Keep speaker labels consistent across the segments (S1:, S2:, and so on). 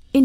S1: verscheen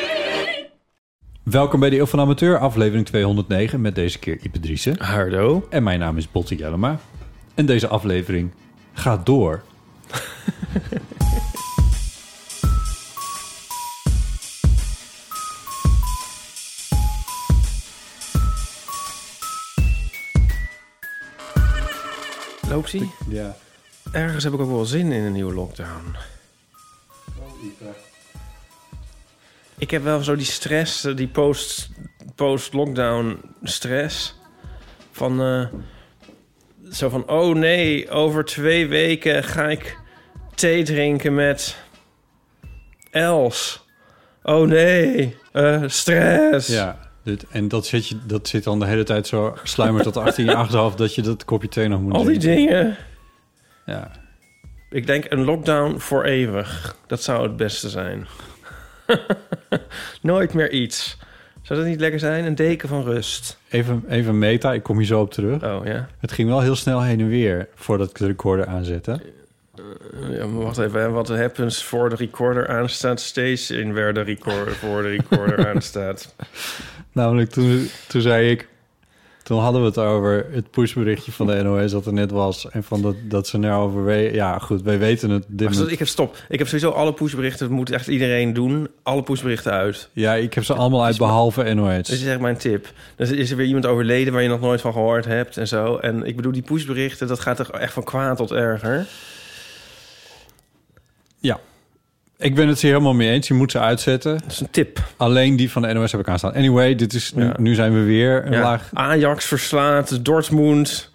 S2: Welkom bij de Eeuw van de Amateur, aflevering 209, met deze keer Ipe Driessen.
S3: Hardo.
S2: En mijn naam is Botte Jellema. En deze aflevering gaat door.
S3: Loopsie.
S2: Ja.
S3: Ergens heb ik ook wel zin in een nieuwe lockdown. Ik heb wel zo die stress, eh, die post- post-lockdown stress. Van eh, zo van, oh nee, over twee weken ga ik thee drinken met Els. Oh nee, eh, stress.
S2: Ja. Dit, en dat zit, je, dat zit dan de hele tijd zo sluimerd tot achter in je achterhoofd dat je dat kopje thee nog moet
S3: Al die
S2: drinken.
S3: dingen.
S2: Ja.
S3: Ik denk een lockdown voor eeuwig. Dat zou het beste zijn. Nooit meer iets. Zou dat niet lekker zijn? Een deken van rust.
S2: Even, even meta, ik kom hier zo op terug.
S3: Oh ja.
S2: Het ging wel heel snel heen en weer voordat ik de recorder aanzette.
S3: Eh, ja, maar wacht even. hè. Wat happens voor de recorder aanstaat, steeds in waar de recorder voor de recorder aanstaat.
S2: Namelijk toen, toen zei ik... Toen hadden we het over het pushberichtje van de NOS dat er net was. En van dat, dat ze nou overwegen... Ja, goed, wij weten het. Dit
S3: Maar zo-
S2: moment-
S3: ik heb stop. Ik heb sowieso alle pushberichten. Dat moet echt iedereen doen. Alle pushberichten uit.
S2: Ja, ik heb ze allemaal uit behalve
S3: Dat
S2: NOS.
S3: is echt mijn tip. Dus is er weer iemand overleden waar je nog nooit van gehoord hebt en zo. En ik bedoel, die pushberichten, dat gaat toch echt van kwaad tot erger.
S2: Ja. Ik ben het hier helemaal mee eens. Je moet ze uitzetten.
S3: Dat is een tip.
S2: Alleen die van de NOS heb ik aanstaan. Anyway, dit is nu,
S3: Ja.
S2: nu zijn we weer een
S3: Ja,
S2: laag...
S3: Ajax verslaat Dortmund.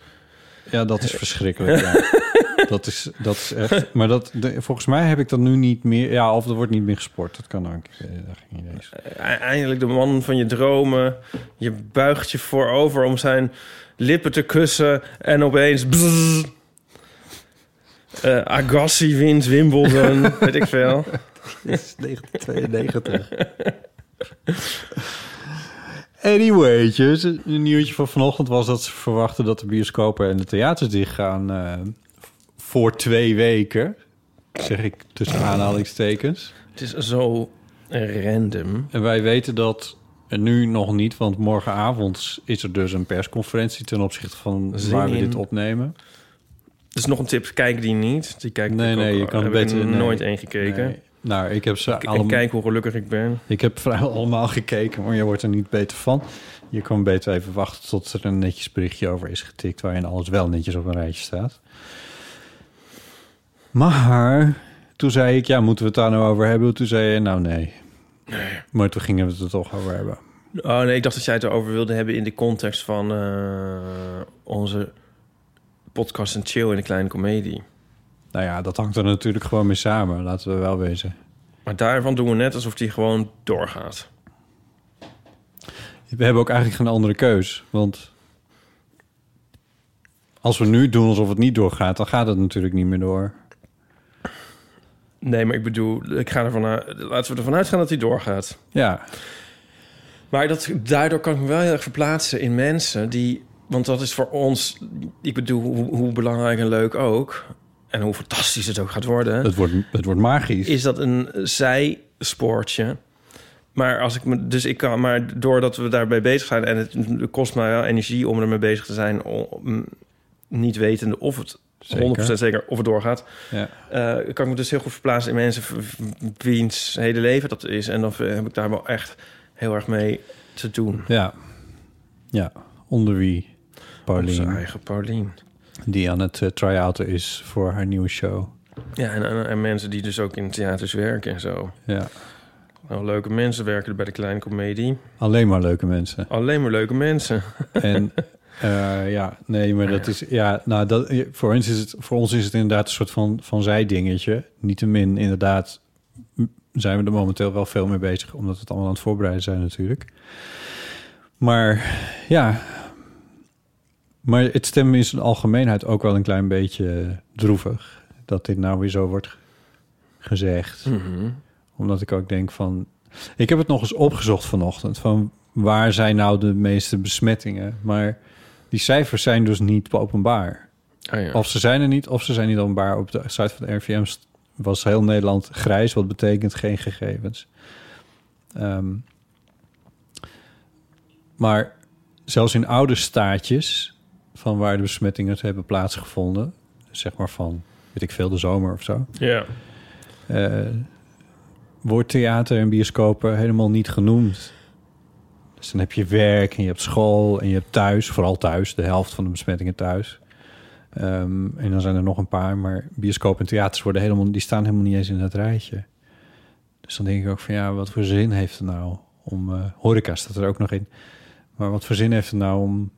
S2: Ja, dat is verschrikkelijk. ja. Dat, is, dat is echt... Maar dat, de- volgens mij heb ik dat nu niet meer... Ja, of er wordt niet meer gesport. Dat kan ook. Ik weet het eigenlijk niet eens.
S3: E- Eindelijk de man van je dromen. Je buigt je voorover om zijn lippen te kussen. En opeens... bzzz. Eh, Agassi wint Wimbledon. weet ik veel.
S2: Dit is 1992. Anyway, een nieuwtje van vanochtend was dat ze verwachten dat de bioscopen en de theaters dicht gaan eh, voor twee weken. Zeg ik tussen aanhalingstekens.
S3: Het is zo random.
S2: En wij weten dat en nu nog niet, want morgenavond is er dus een persconferentie ten opzichte van
S3: Zin
S2: waar we
S3: in.
S2: dit opnemen.
S3: Dus nog een tip, kijk die niet. Die kijk
S2: Nee,
S3: ik ook
S2: nee,
S3: al-
S2: je kan
S3: heb
S2: beter...
S3: Ik
S2: nee.
S3: nooit één gekeken.
S2: Nee. Nou, ik heb ze
S3: K-
S2: allemaal...
S3: En kijk hoe gelukkig ik ben.
S2: Ik heb vrijwel allemaal gekeken, maar je wordt er niet beter van. Je kan beter even wachten tot er een netjes berichtje over is getikt... waarin alles wel netjes op een rijtje staat. Maar toen zei ik, ja, moeten we het daar nou over hebben? Toen zei je, nou nee. Maar toen gingen we het er toch over hebben.
S3: Oh nee, ik dacht dat jij het erover wilde hebben in de context van eh, onze podcast en chill in de kleine komedie.
S2: Nou ja, dat hangt er natuurlijk gewoon mee samen, laten we wel wezen.
S3: Maar daarvan doen we net alsof die gewoon doorgaat.
S2: We hebben ook eigenlijk geen andere keus, want... als we nu doen alsof het niet doorgaat, dan gaat het natuurlijk niet meer door.
S3: Nee, maar ik bedoel, ik ga ervan uit, laten we ervan uitgaan dat die doorgaat.
S2: Ja,
S3: Maar dat, daardoor kan ik me wel heel erg verplaatsen in mensen die... Want dat is voor ons, ik bedoel, hoe, hoe belangrijk en leuk ook... en hoe fantastisch het ook gaat worden...
S2: het wordt, het wordt magisch.
S3: is dat een zijspoortje. Maar als ik me, dus ik kan, maar doordat we daarbij bezig zijn en het, kost mij wel energie om ermee bezig te zijn, om, niet wetende of het
S2: Zeker.
S3: 100% zeker of het doorgaat,
S2: Ja.
S3: eh, kan ik me dus heel goed verplaatsen in mensen v- v- wiens hele leven dat is. En dan heb ik daar wel echt heel erg mee te doen.
S2: Ja. Ja, onder wie?
S3: Zijn
S2: Paulien.
S3: eigen Paulien.
S2: Die aan het eh, try-outen is voor haar nieuwe show.
S3: Ja, en, en, en mensen die dus ook in theaters werken en zo.
S2: Ja.
S3: Nou, leuke mensen werken er bij de kleine comedie.
S2: Alleen maar leuke mensen.
S3: Alleen maar leuke mensen.
S2: En eh, ja, nee, maar dat is... Ja, nou, dat, voor, ons is het, voor ons is het inderdaad een soort van, van zijdingetje. Niettemin, inderdaad, m- zijn we er momenteel wel veel mee bezig... omdat we het allemaal aan het voorbereiden zijn natuurlijk. Maar ja... Maar het stemt me in zijn algemeenheid ook wel een klein beetje droevig... dat dit nou weer zo wordt gezegd. Omdat ik ook denk van... Ik heb het nog eens opgezocht vanochtend. Van waar zijn nou de meeste besmettingen? Maar die cijfers zijn dus niet openbaar.
S3: Ah, ja.
S2: Of ze zijn er niet, of ze zijn niet openbaar. Op de site van de RVM st- was heel Nederland grijs. Wat betekent geen gegevens. Ehm, maar zelfs in oude staatjes... van waar de besmettingen hebben plaatsgevonden... zeg maar van, weet ik veel, de zomer of zo
S3: ja.
S2: eh, wordt theater en bioscopen helemaal niet genoemd. Dus dan heb je werk en je hebt school en je hebt thuis, vooral thuis, de helft van de besmettingen thuis. Ehm, en dan zijn er nog een paar, maar bioscoop en theaters worden helemaal, die staan helemaal niet eens in dat rijtje. Dus dan denk ik ook van ja, wat voor zin heeft het nou om eh, horeca staat er ook nog in, maar wat voor zin heeft het nou om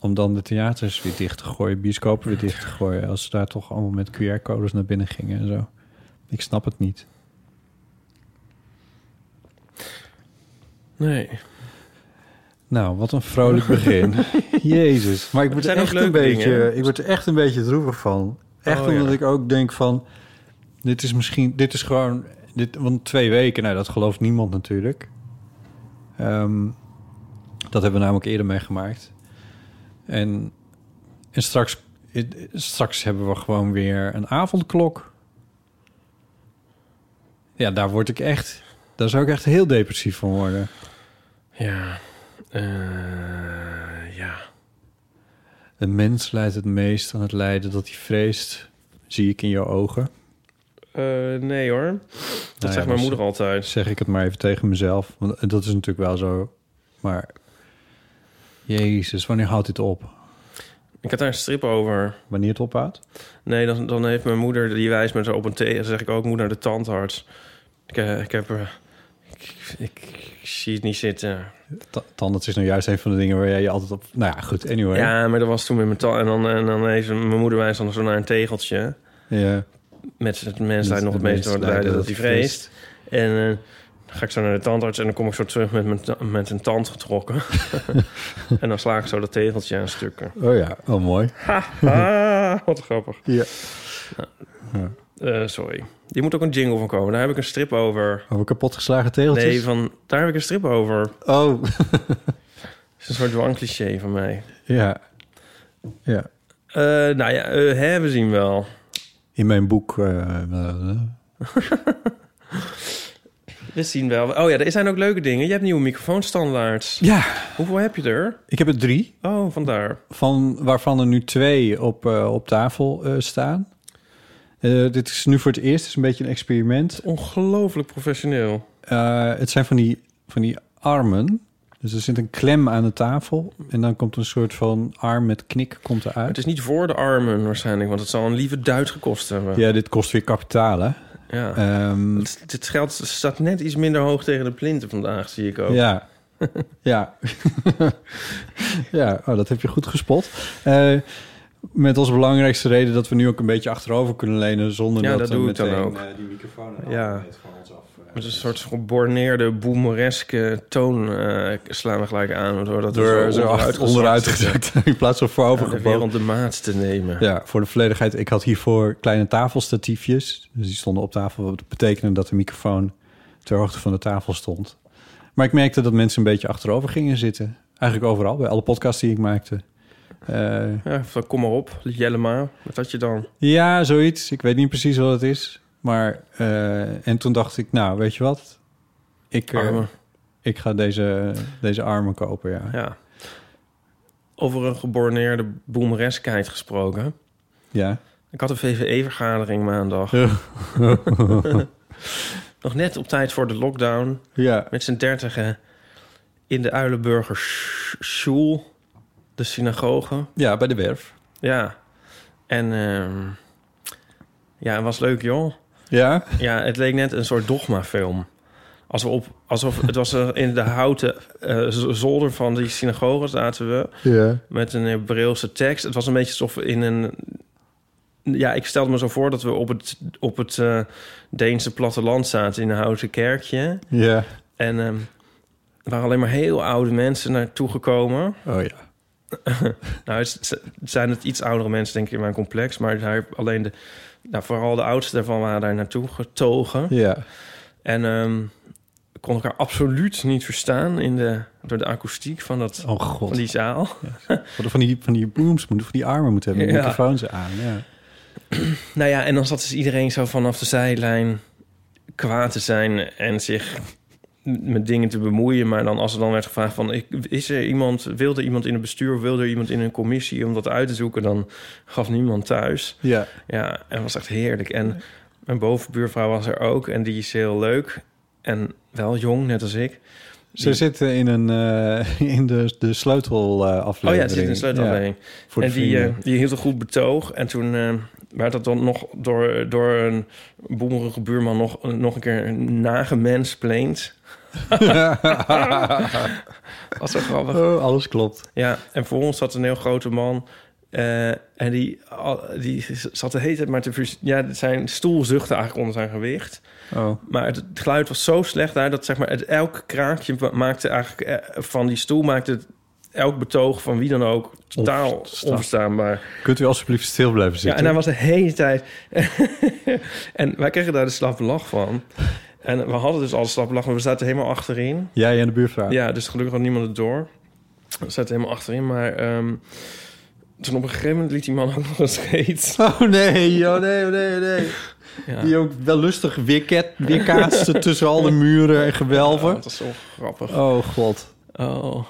S2: om dan de theaters weer dicht te gooien, bioscopen weer dicht te gooien, als ze daar toch allemaal met QR-codes naar binnen gingen en zo. Ik snap het niet.
S3: Nee.
S2: Nou, wat een vrolijk begin. Jezus. Maar ik word,
S3: zijn
S2: er
S3: ook
S2: echt een
S3: leuke dingen,
S2: beetje,
S3: hè?
S2: ik word er echt een beetje droevig van. Echt
S3: Oh,
S2: omdat
S3: ja.
S2: ik ook denk van... Dit is misschien... Dit is gewoon... Dit, want twee weken, nou, dat gelooft niemand natuurlijk. Ehm, dat hebben we namelijk eerder meegemaakt. En, en straks, straks hebben we gewoon weer een avondklok. Ja, daar word ik echt... Daar zou ik echt heel depressief van worden.
S3: Ja. Eh, ja.
S2: Een mens leidt het meest aan het lijden dat hij vreest, zie ik in jouw ogen.
S3: Eh, nee hoor. Nou Dat
S2: ja,
S3: zegt mijn
S2: dus-
S3: moeder altijd.
S2: Zeg ik het maar even tegen mezelf, want dat is natuurlijk wel zo. Maar Jezus, wanneer houdt dit op?
S3: Ik had daar een strip over.
S2: Wanneer het ophoudt?
S3: Nee, dan, dan heeft mijn moeder, die wijst me zo op een thee. Dan zeg ik ook, moet naar de tandarts. Ik, eh, ik heb... er- ik, ik, ik zie het niet zitten.
S2: Ta- Tandarts is nou juist een van de dingen waar jij je altijd op... Nou ja, goed, anyway.
S3: Ja, maar dat was toen met mijn tand. En dan, en dan heeft mijn moeder wijst dan zo naar een tegeltje.
S2: Ja.
S3: Met het mensheid nog het
S2: mens
S3: meest door het
S2: lijden
S3: lijden dat hij
S2: hij
S3: vreest. En eh, dan ga ik zo naar de tandarts en dan kom ik zo terug met, mijn ta- met een tand getrokken. en dan sla ik zo dat tegeltje aan stukken.
S2: Oh ja, oh mooi.
S3: Ah, wat grappig.
S2: Ja.
S3: Eh, sorry. Die moet ook een jingle van komen. Daar heb ik een strip over.
S2: Over kapotgeslagen tegeltjes?
S3: Nee, van, daar heb ik een strip over. Het
S2: Oh,
S3: is een soort dwangcliché van mij.
S2: ja. Ja.
S3: Eh, nou ja, eh, hè, we zien wel.
S2: In mijn boek... eh, eh,
S3: We zien wel. Oh ja, er zijn ook leuke dingen. Je hebt nieuwe microfoonstandaards.
S2: ja,
S3: Hoeveel heb je er?
S2: ik heb er drie.
S3: Oh, vandaar.
S2: van, waarvan er nu twee op, eh, op tafel eh, staan. Eh, dit is nu voor het eerst, het is een beetje een experiment.
S3: Ongelooflijk professioneel.
S2: Eh, het zijn van die, van die armen. Dus er zit een klem aan de tafel. En dan komt een soort van arm met knik komt
S3: Het
S2: eruit.
S3: is niet voor de armen waarschijnlijk, want het zal een lieve duit gekost hebben.
S2: Ja, dit kost weer kapitaal, hè?
S3: Ja.
S2: Ehm,
S3: het, het geld staat net iets minder hoog tegen de plinten vandaag, zie ik ook.
S2: Ja. ja. ja, oh, dat heb je goed gespot. Eh, met als belangrijkste reden dat we nu ook een beetje achterover kunnen lenen... zonder
S3: Ja,
S2: dat,
S3: dat
S2: we
S3: doe ik
S2: meteen
S3: dan ook.
S2: eh, die microfoon en
S3: Ja.
S2: alles van ons af... eh,
S3: Met een soort geborneerde, boemereske toon eh, slaan we gelijk aan. Doordat we
S2: door zo
S3: onderuit
S2: achter-
S3: gezakt
S2: onderuit
S3: zitten.
S2: gezakt in plaats van
S3: Ja,
S2: voorover
S3: de
S2: gebogen.
S3: wereld de maat te nemen.
S2: Ja, voor de volledigheid. Ik had hiervoor kleine tafelstatiefjes. Dus die stonden op tafel. Wat betekende dat de microfoon ter hoogte van de tafel stond. Maar ik merkte dat mensen een beetje achterover gingen zitten. Eigenlijk overal, bij alle podcasts die ik maakte. Eh,
S3: Ja, van kom maar op, Jellema. Wat had je dan?
S2: ja, zoiets. Ik weet niet precies wat het is. Maar, eh, en toen dacht ik, nou, weet je wat? Ik, eh,
S3: Armen.
S2: ik ga deze, deze armen kopen, ja.
S3: Ja. Over een geborneerde boemereskheid gesproken.
S2: Ja.
S3: Ik had een VVE-vergadering maandag. Nog net op tijd voor de lockdown.
S2: ja.
S3: met z'n dertigen in de Uilenburger Sch- School. de synagoge.
S2: Ja, bij de werf.
S3: Ja. En ehm, ja, het was leuk, joh.
S2: Ja?
S3: Ja, het leek net een soort dogmafilm. Alsof, op, alsof het was eh, in de houten eh, z- zolder van die synagoge zaten we.
S2: Ja.
S3: Met een Hebreeuwse tekst. Het was een beetje alsof we in een... Ja, ik stelde me zo voor dat we op het, op het eh, Deense platteland zaten... in een houten kerkje.
S2: Ja.
S3: En ehm, er waren alleen maar heel oude mensen naartoe gekomen.
S2: Oh ja.
S3: Nou, het z- zijn het iets oudere mensen, denk ik, in mijn complex. Maar daar alleen de, nou, vooral de oudsten daarvan waren daar naartoe getogen.
S2: Ja.
S3: En ehm kon elkaar absoluut niet verstaan in de, door de akoestiek van, dat,
S2: Oh
S3: van
S2: god.
S3: die zaal.
S2: We hadden van die, van die booms moeten, van die armen moeten hebben.
S3: Ja.
S2: Die microfoons aan, ja.
S3: Nou ja, en dan zat dus iedereen zo vanaf de zijlijn kwaad te zijn en zich met dingen te bemoeien. Maar dan als er dan werd gevraagd van, ik- is er iemand, wilde iemand in het bestuur of wilde er iemand in een commissie om dat uit te zoeken, dan gaf niemand thuis.
S2: Ja.
S3: Ja, en het was echt heerlijk. En mijn bovenbuurvrouw was er ook en die is heel leuk en wel jong, net als ik.
S2: Ze zitten in, een, eh, in de, de sleutelaflevering.
S3: Oh ja, het zit in de sleutelaflevering.
S2: Ja, voor de
S3: en die,
S2: vrienden.
S3: eh, die hield een goed betoog. En toen eh, werd dat dan nog door, door een boemerige buurman nog, nog een keer nagemensplaint. Was zo grappig.
S2: Oh, alles klopt.
S3: Ja, en voor ons zat een heel grote man. eh, en die, al- die zat de hele tijd maar te... vers- Ja, zijn stoel zuchtte eigenlijk onder zijn gewicht.
S2: Oh.
S3: Maar het, het geluid was zo slecht daar... dat zeg maar, het, elk kraakje ma- maakte eigenlijk... eh, van die stoel maakte het, elk betoog van wie dan ook... totaal
S2: Onverstaanbaar.
S3: onverstaanbaar.
S2: Kunt u alsjeblieft stil blijven
S3: Ja, en
S2: zitten?
S3: hij was de hele tijd... en wij kregen daar de slappe lach van. En we hadden dus al de slappe lach, maar we zaten helemaal achterin.
S2: Jij en de buurvrouw.
S3: Ja, dus gelukkig had niemand het door. We zaten helemaal achterin, maar... ehm, toen op een gegeven moment liet die man ook nog een scheet.
S2: Oh nee, oh nee, oh nee, oh nee.
S3: Ja.
S2: Die ook wel lustig weerket, weerkaatste tussen al de muren en
S3: Oh,
S2: gewelven.
S3: dat is zo grappig.
S2: Oh god.
S3: Oh.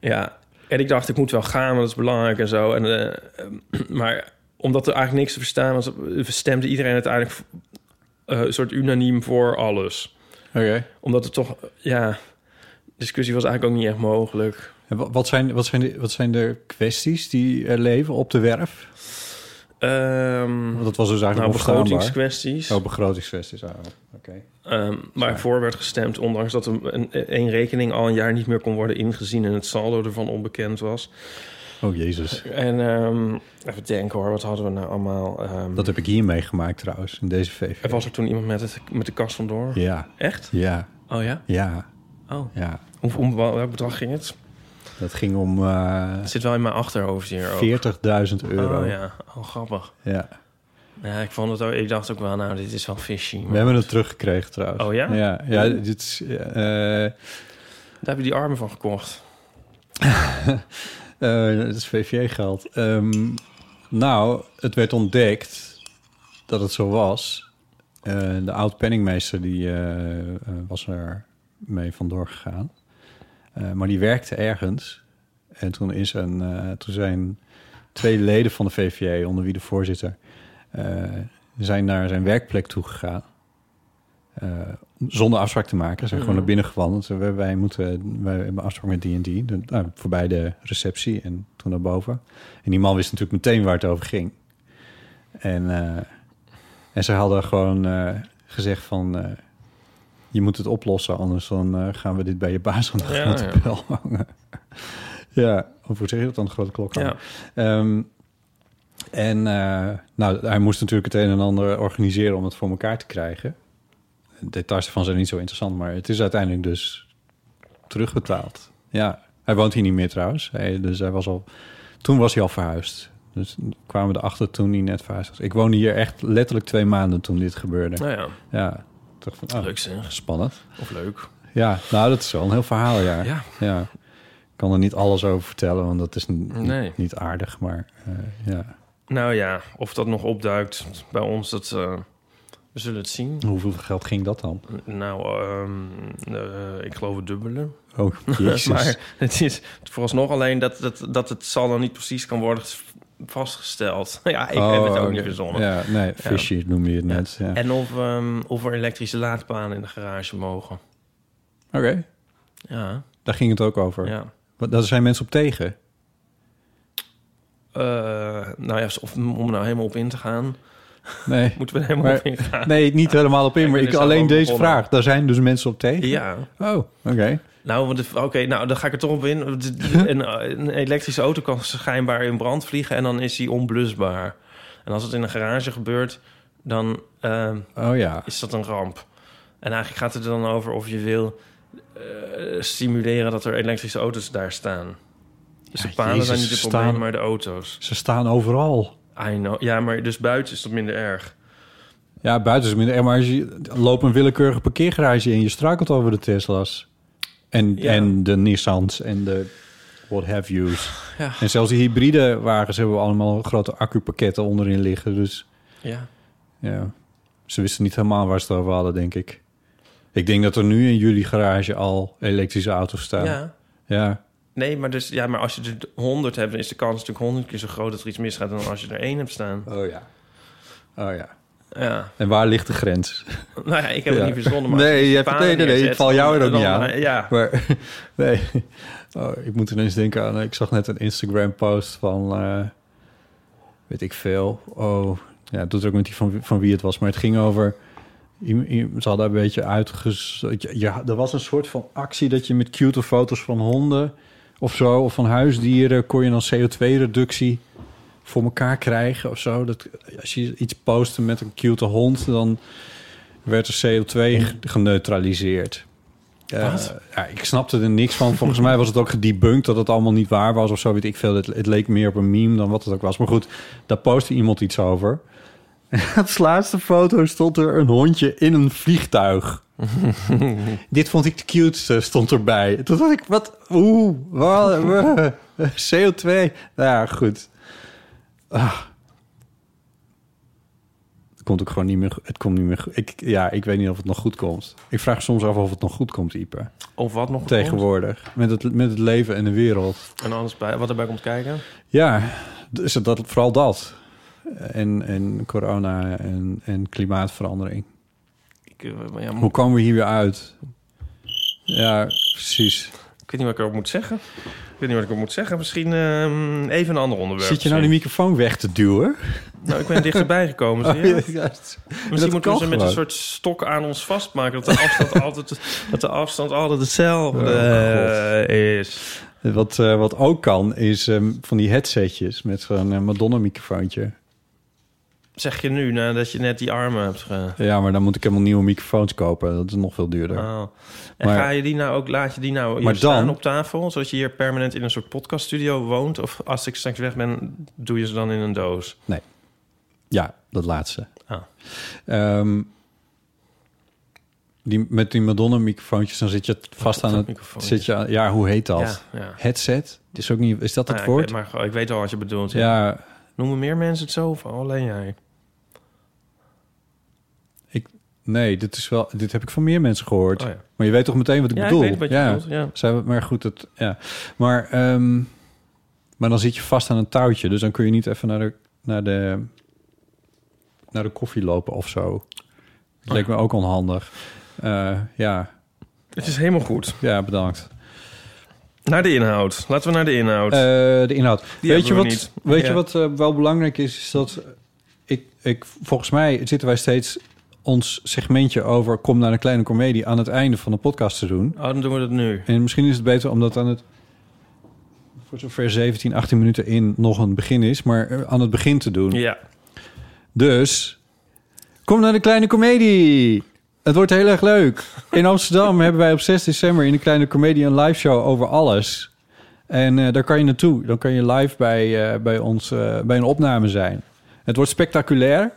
S3: Ja. En ik dacht, ik moet wel gaan, want dat is belangrijk en zo. En, eh, maar omdat er eigenlijk niks te verstaan was... stemde iedereen uiteindelijk eh, een soort unaniem voor alles.
S2: Oké.
S3: Omdat het toch, ja, discussie was eigenlijk ook niet echt mogelijk.
S2: En wa- wat zijn, wat, zijn de, wat zijn de kwesties die er leven op de werf?
S3: Ehm
S2: Want dat was dus
S3: nou,
S2: eigenlijk onverstaanbaar.
S3: begrotingskwesties.
S2: Oh, begrotingskwesties. Oh, oké.
S3: Ehm, waarvoor werd gestemd, ondanks dat een, een, een rekening al een jaar niet meer kon worden ingezien en het saldo ervan onbekend was.
S2: Oh jezus.
S3: En ehm, even denken hoor, wat hadden we nou allemaal? Ehm,
S2: Dat heb ik hier meegemaakt trouwens, in deze VV.
S3: Er was er toen iemand met, het, met de kast vandoor.
S2: Ja,
S3: Echt?
S2: ja,
S3: Oh ja?
S2: ja,
S3: Oh.
S2: ja.
S3: Om, om wel- welk bedrag ging het?
S2: Dat ging om eh,
S3: Het zit wel in mijn achterhoofd hier ook.
S2: 40.000 euro.
S3: Oh
S2: ja.
S3: ja, oh, grappig. Ja, ik, vond het ook, ik dacht ook wel, nou, dit is wel fishy. maar-
S2: We hebben het teruggekregen trouwens.
S3: Oh, ja?
S2: Ja, ja dit is... eh, eh,
S3: Daar heb je die armen van gekocht.
S2: Eh, dat is VVJ-geld. Ehm, nou, het werd ontdekt dat het zo was. Eh, de oud-penningmeester die, eh, eh, was er mee vandoor gegaan. Eh, maar die werkte ergens. En toen, is een, eh, toen zijn twee leden van de VVJ, onder wie de voorzitter... eh, zijn naar zijn werkplek toegegaan. Eh, zonder afspraak te maken. Ze zijn gewoon naar binnen gewandeld. Ze- Wij, wij, moeten, wij hebben afspraak met die en die. De- nou, voorbij de receptie en toen naar boven. En die man wist natuurlijk meteen waar het over ging. En, eh, en ze hadden gewoon eh, gezegd van... eh, je moet het oplossen, anders dan eh, gaan we dit bij je baas aan de
S3: Ja,
S2: grote
S3: ja.
S2: bel hangen. ja, of hoe zeg je dat dan? De grote klok hangen.
S3: Ja.
S2: Ehm, en eh, nou, hij moest natuurlijk het een en ander organiseren om het voor elkaar te krijgen. De details ervan zijn niet zo interessant, maar het is uiteindelijk dus terugbetaald. Ja, hij woont hier niet meer trouwens. Hij, dus hij was al, toen was hij al verhuisd. Dus kwamen we erachter toen hij net verhuisd was. Ik woonde hier echt letterlijk twee maanden toen dit gebeurde.
S3: Nou ja,
S2: Ja, ik dacht van, oh,
S3: leuk zeg.
S2: spannend.
S3: Of leuk.
S2: Ja, nou, dat is wel een heel verhaal, ja.
S3: Ja.
S2: Ja. Ik kan er niet alles over vertellen, want dat is niet,
S3: Nee.
S2: niet aardig, maar eh, ja.
S3: Nou ja, of dat nog opduikt bij ons, dat, eh, we zullen het zien.
S2: Hoeveel geld ging dat dan?
S3: N- Nou, ehm, eh, ik geloof het dubbele.
S2: Oh, jezus.
S3: Maar het is vooralsnog alleen dat, dat, dat het zal dan niet precies kan worden ges- vastgesteld. ja, ik heb
S2: Oh,
S3: het ook
S2: oké.
S3: niet verzonnen.
S2: Ja, nee, fishy noem je het
S3: Ja.
S2: net. Ja.
S3: En of, ehm, of er elektrische laadpaalen in de garage mogen.
S2: Oké,
S3: Ja,
S2: daar ging het ook over.
S3: ja.
S2: Wat- Daar zijn mensen op tegen.
S3: eh, nou ja, of, om er nou helemaal op in te gaan.
S2: Nee.
S3: Moeten we er helemaal
S2: Maar-
S3: op ingaan?
S2: Nee, niet helemaal op in, maar
S3: ben
S2: ik,
S3: er zelf
S2: alleen
S3: ook
S2: deze
S3: begonnen.
S2: vraag. Daar zijn dus mensen op tegen?
S3: Ja.
S2: Oh, oké.
S3: Nou, want het- oké, nou, dan ga ik er toch op in. Een, een elektrische auto kan schijnbaar in brand vliegen en dan is die onblusbaar. En als het in een garage gebeurt, dan ehm,
S2: Oh ja.
S3: is dat een ramp. En eigenlijk gaat het er dan over of je wil eh, stimuleren dat er elektrische auto's daar staan. Dus
S2: Ja,
S3: de palen
S2: Jezus,
S3: zijn niet het
S2: ze
S3: probleem,
S2: staan-
S3: maar de auto's.
S2: Ze staan overal.
S3: I know. Ja, maar dus buiten is dat minder erg.
S2: Ja, buiten is het minder. erg, Maar als je loopt een willekeurige parkeergarage in, je struikelt over de Tesla's. En,
S3: Ja.
S2: en de Nissans en de what have yous.
S3: Ja.
S2: En zelfs die hybride wagens hebben allemaal grote accupakketten onderin liggen. Dus
S3: Ja.
S2: ja, ze wisten niet helemaal waar ze het over hadden, denk ik. Ik denk dat er nu in jullie garage al elektrische auto's staan.
S3: ja.
S2: ja.
S3: Nee, maar, dus, ja, maar als je er 100 hebt, dan is de kans natuurlijk 100 keer zo groot dat er iets misgaat dan als je er één hebt staan.
S2: Oh ja. Oh ja.
S3: Ja.
S2: En waar ligt de grens?
S3: Nou ja, ik heb
S2: Ja.
S3: het niet verzonnen. Maar
S2: Nee,
S3: als
S2: je hebt-
S3: paal
S2: nee, nee, nee,
S3: neerzet,
S2: ik val jou er ook
S3: dan-
S2: niet aan.
S3: eh, Ja,
S2: Maar nee, oh, ik moet ineens denken aan... eh, Ik zag net een Instagram-post van... eh, weet ik veel. Oh, ja, dat doet ook met die van, van wie het was. Maar het ging over... iem- iem- Ze hadden een beetje uitges... je- je- er was een soort van actie dat je met cute foto's van honden... of zo, of van huisdieren... kon je dan CO2-reductie voor elkaar krijgen of zo. Dat, als je iets postte met een cute hond... dan werd er CO2 ge- geneutraliseerd. Eh,
S3: Wat?
S2: ja, ik snapte er niks van. Volgens mij was het ook gedebunked dat het allemaal niet waar was of zo. Weet ik veel. Het, het leek meer op een meme dan wat het ook was. Maar goed, daar postte iemand iets over. Op de laatste foto stond er een hondje in een vliegtuig. Dit vond ik de cuteste, stond erbij. Toen dacht ik, wat? Oeh, wat, eh, CO2. Nou ja, goed. Ah. Het komt ook gewoon niet meer. go- Het komt niet meer. go- Ik, ja, ik weet niet of het nog goed komt. Ik vraag soms af of het nog goed komt, Ipe.
S3: of wat nog
S2: Tegenwoordig. Met het, met het leven en de wereld.
S3: komt. En alles bij, wat erbij komt kijken.
S2: Ja, dus dat, vooral dat. En, en corona en, en klimaatverandering.
S3: Mm. Ik, eh, maar ja,
S2: Hoe
S3: moet,
S2: komen we hier weer uit? Ja, precies.
S3: ik weet niet wat ik erop moet zeggen. Ik weet niet wat ik erop moet zeggen. Misschien ehm, even een ander onderwerp.
S2: Zit je nou die
S3: misschien.
S2: microfoon weg te duwen?
S3: Nou, ik ben dichterbij gekomen. zie
S2: Oh,
S3: je?
S2: ja, juist.
S3: Misschien
S2: dat
S3: moeten
S2: kan
S3: we ze met een
S2: gewoon.
S3: soort stok aan ons vastmaken. Dat de afstand altijd, dat de afstand altijd hetzelfde
S2: Oh,
S3: eh, is.
S2: Wat, eh, wat ook kan, is ehm, van die headsetjes met zo'n eh, Madonna-microfoontje.
S3: Zeg je nu nadat je net die armen hebt ge...
S2: Ja, maar dan moet ik helemaal nieuwe microfoons kopen. Dat is nog veel duurder.
S3: Oh. En
S2: Maar-
S3: ga je die nou ook, laat je die nou hier
S2: Maar
S3: staan
S2: dan-
S3: op tafel, zodat je hier permanent in een soort podcaststudio woont? Of als ik straks weg ben, doe je ze dan in een doos?
S2: Ja, dat laatste.
S3: Ah.
S2: Ehm, die, met die Madonna-microfoontjes, dan zit je vast aan
S3: dat
S2: het...
S3: microfoontje?
S2: Zit je aan- ja, hoe heet dat?
S3: Ja, ja.
S2: Headset? Het Is, ook niet, is dat
S3: Nou
S2: het
S3: ja, ik
S2: woord?
S3: weet maar gewoon- ik weet al wat je bedoelt. Ja.
S2: ja,
S3: Noemen meer mensen het zo of alleen jij?
S2: nee, dit, is wel, dit heb ik van meer mensen gehoord.
S3: Oh, ja.
S2: Maar je weet toch meteen wat ik
S3: Ja, ik
S2: bedoel?
S3: weet wat je
S2: ja.
S3: bedoelt, ja.
S2: Zijn we, maar goed, het, ja. Maar, ehm, maar dan zit je vast aan een touwtje. Dus dan kun je niet even naar de, naar de, naar de koffie lopen of zo. Dat
S3: Oh,
S2: leek me ook onhandig. Eh, ja,
S3: Het is helemaal goed.
S2: ja, bedankt.
S3: Naar de inhoud. Laten we naar de inhoud.
S2: Eh, de inhoud. weet je
S3: hebben we
S2: wat,
S3: niet.
S2: Weet
S3: Ja.
S2: je wat eh, wel belangrijk is? Is dat ik, ik, volgens mij zitten wij steeds ons segmentje over kom naar een kleine komedie aan het einde van de podcast te doen.
S3: oh, dan doen we dat nu.
S2: En misschien is het beter omdat aan het voor zover 17, 18 minuten in nog een begin is, maar eh, aan het begin te doen.
S3: Ja.
S2: Dus kom naar de kleine komedie. Het wordt heel erg leuk. In Amsterdam hebben wij op 6 december in de kleine komedie een live show over alles. En eh, daar kan je naartoe. Dan kan je live bij, eh, bij ons eh, bij een opname zijn. Het wordt spectaculair.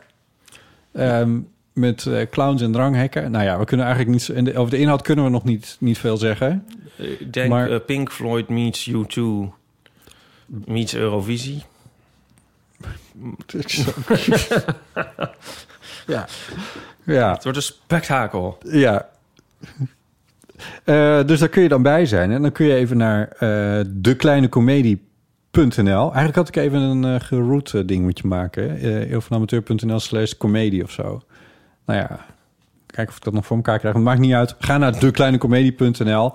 S2: Ehm, met eh, clowns en dranghekken. Nou ja, we kunnen eigenlijk niet. zo- en de- Over de inhoud kunnen we nog niet, niet veel zeggen.
S3: Ik denk
S2: Maar-
S3: eh, Pink Floyd meets U2 meets Eurovisie.
S2: ja. ja.
S3: Het wordt een spektakel.
S2: Ja. Eh, dus daar kun je dan bij zijn. En dan kun je even naar eh dekleinecomedie.nl. Eigenlijk had ik even een eh geroute ding moeten maken. Eh eeuwvanamateur.nl slash comedie of zo. Nou ja, kijken of ik dat nog voor elkaar krijg. Maar maakt niet uit. Ga naar dekleinecomedie.nl.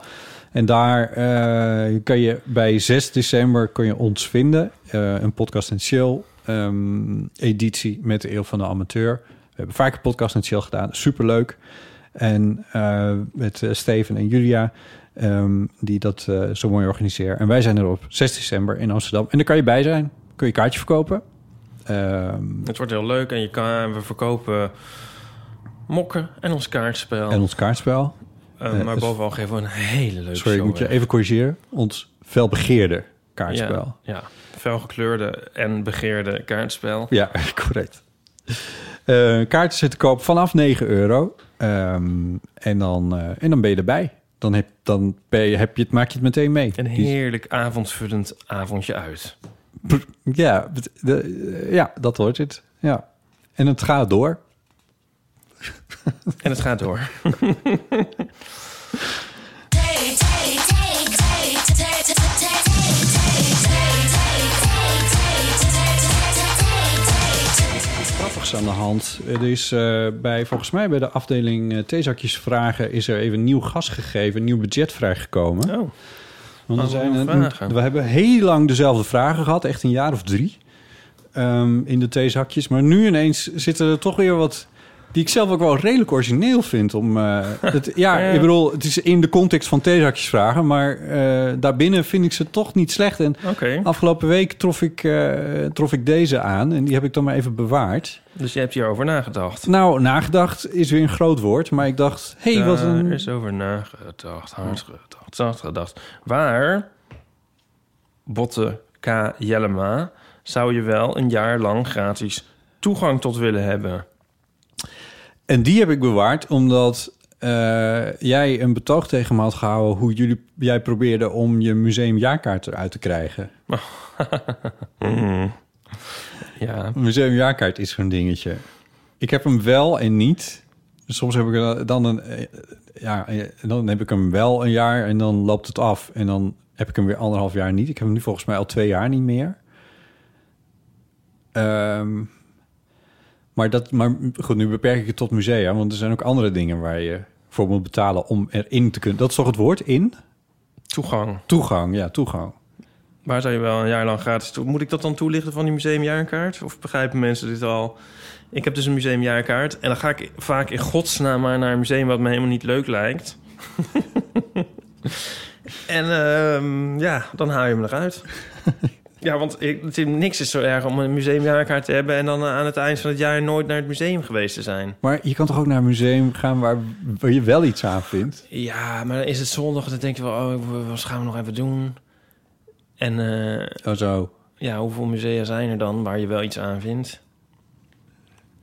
S2: En daar eh, kan je bij 6 december kun je ons vinden. Eh, een podcast en chill ehm, editie met de Eeuw van de Amateur. We hebben vaker podcast en chill gedaan. Superleuk. En eh, met eh, Steven en Julia, ehm, die dat eh, zo mooi organiseren. En wij zijn er op 6 december in Amsterdam. En daar kan je bij zijn. Kun je kaartje verkopen. Ehm,
S3: Het wordt heel leuk en je kan, we verkopen mokken en ons kaartspel.
S2: en ons kaartspel.
S3: Eh,
S2: eh,
S3: maar
S2: dus-
S3: bovenal geven we een hele leuke
S2: Sorry, ik
S3: show
S2: moet je
S3: weg.
S2: even corrigeren. Ons felbegeerde kaartspel.
S3: Ja, ja, felgekleurde en begeerde kaartspel.
S2: Ja, correct. Eh, kaarten zitten te koop vanaf 9 euro. Ehm, en, dan, eh, en dan ben je erbij. Dan, heb, dan ben je, heb je het, maak je het meteen mee. Dus-
S3: Een
S2: Die-
S3: heerlijk avondvullend avondje uit.
S2: Ja, het- de- eh, ja, dat hoort het. Ja. En het gaat door.
S3: En het gaat door.
S2: Grappigs aan de hand. Er is eh, bij, volgens mij bij de afdeling eh, theezakjes vragen... is er even nieuw gas gegeven, nieuw budget vrijgekomen.
S3: Oh,
S2: Want er
S3: Allemaal
S2: zijn,
S3: vragen.
S2: we hebben heel lang dezelfde vragen gehad, echt een jaar of drie ehm, in de theezakjes. Maar nu ineens zitten er toch weer wat die ik zelf ook wel redelijk origineel vind. Om, eh, het, ja,
S3: Ja.
S2: ik bedoel, het is in de context van theezakjes vragen, maar eh, daarbinnen vind ik ze toch niet slecht. En
S3: oké.
S2: afgelopen week trof ik, eh, trof ik deze aan en die heb ik dan maar even bewaard.
S3: Dus je hebt hierover nagedacht.
S2: Nou, nagedacht is weer een groot woord, maar ik dacht, hé, hey, wat
S3: Daar
S2: een...
S3: is over nagedacht, hard gedacht, zacht gedacht. Waar, Botte K. Jellema, zou je wel een jaar lang gratis toegang tot willen hebben?
S2: En die heb ik bewaard omdat eh, jij een betoog tegen me had gehouden hoe jullie, jij probeerde om je museumjaarkaart eruit te krijgen.
S3: Ja,
S2: Een museumjaarkaart is zo'n dingetje. Ik heb hem wel en niet. Soms heb ik er dan een, eh, ja, eh, dan heb ik hem wel een jaar en dan loopt het af. En dan heb ik hem weer anderhalf jaar niet. Ik heb hem nu volgens mij al twee jaar niet meer. Ehm, maar, dat, maar goed, nu beperk ik het tot musea. Want er zijn ook andere dingen waar je voor moet betalen om erin te kunnen. Dat is toch het woord in?
S3: toegang.
S2: Toegang, ja, toegang.
S3: Waar zou je wel een jaar lang gratis toe... Moet ik dat dan toelichten van die museumjaarkaart? Of begrijpen mensen dit al? Ik heb dus een museumjaarkaart. En dan ga ik vaak in godsnaam maar naar een museum... wat me helemaal niet leuk lijkt. en ehm, ja, dan haal je hem eruit. ja, want ik, het, is- niks is zo erg om een museumjaarkaart te hebben... en dan eh, aan het eind van het jaar nooit naar het museum geweest te zijn.
S2: Maar je kan toch ook naar een museum gaan waar, waar je wel iets aan vindt?
S3: Ja, maar dan is het zondag en dan denk je wel... oh, wat gaan we nog even doen? En... eh,
S2: Oh zo,
S3: Ja, hoeveel musea zijn er dan waar je wel iets aan vindt?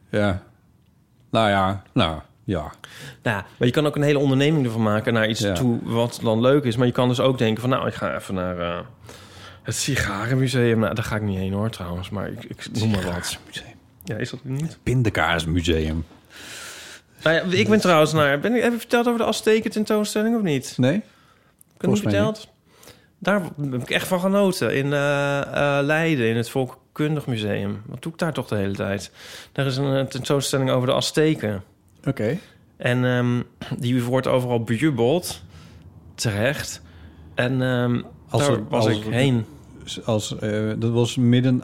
S2: ja. Nou ja, nou ja.
S3: Nou, maar je kan ook een hele onderneming ervan maken naar iets
S2: Ja.
S3: toe wat dan leuk is. Maar je kan dus ook denken van, nou, ik ga even naar eh, het sigarenmuseum. Nou, daar ga ik niet heen hoor, trouwens. Maar ik, ik noem maar wat.
S2: Museum.
S3: Ja, is dat niet?
S2: Pindakaasmuseum.
S3: Nou ja, ik ben trouwens naar... Ben ik, heb ik verteld over de Azteken tentoonstelling of niet?
S2: Nee?
S3: Ik heb het niet
S2: Volgens mij
S3: verteld. Daar heb ik echt van genoten. In eh, eh, Leiden, in het Volkkundig Museum. Wat doe ik daar toch de hele tijd? Daar is een eh, tentoonstelling over de Azteken.
S2: Oké.
S3: En ehm, die wordt overal bejubeld. Terecht. En ehm
S2: Als
S3: daar
S2: het-
S3: was
S2: als
S3: ik
S2: het-
S3: heen.
S2: Dus Als, eh, dat was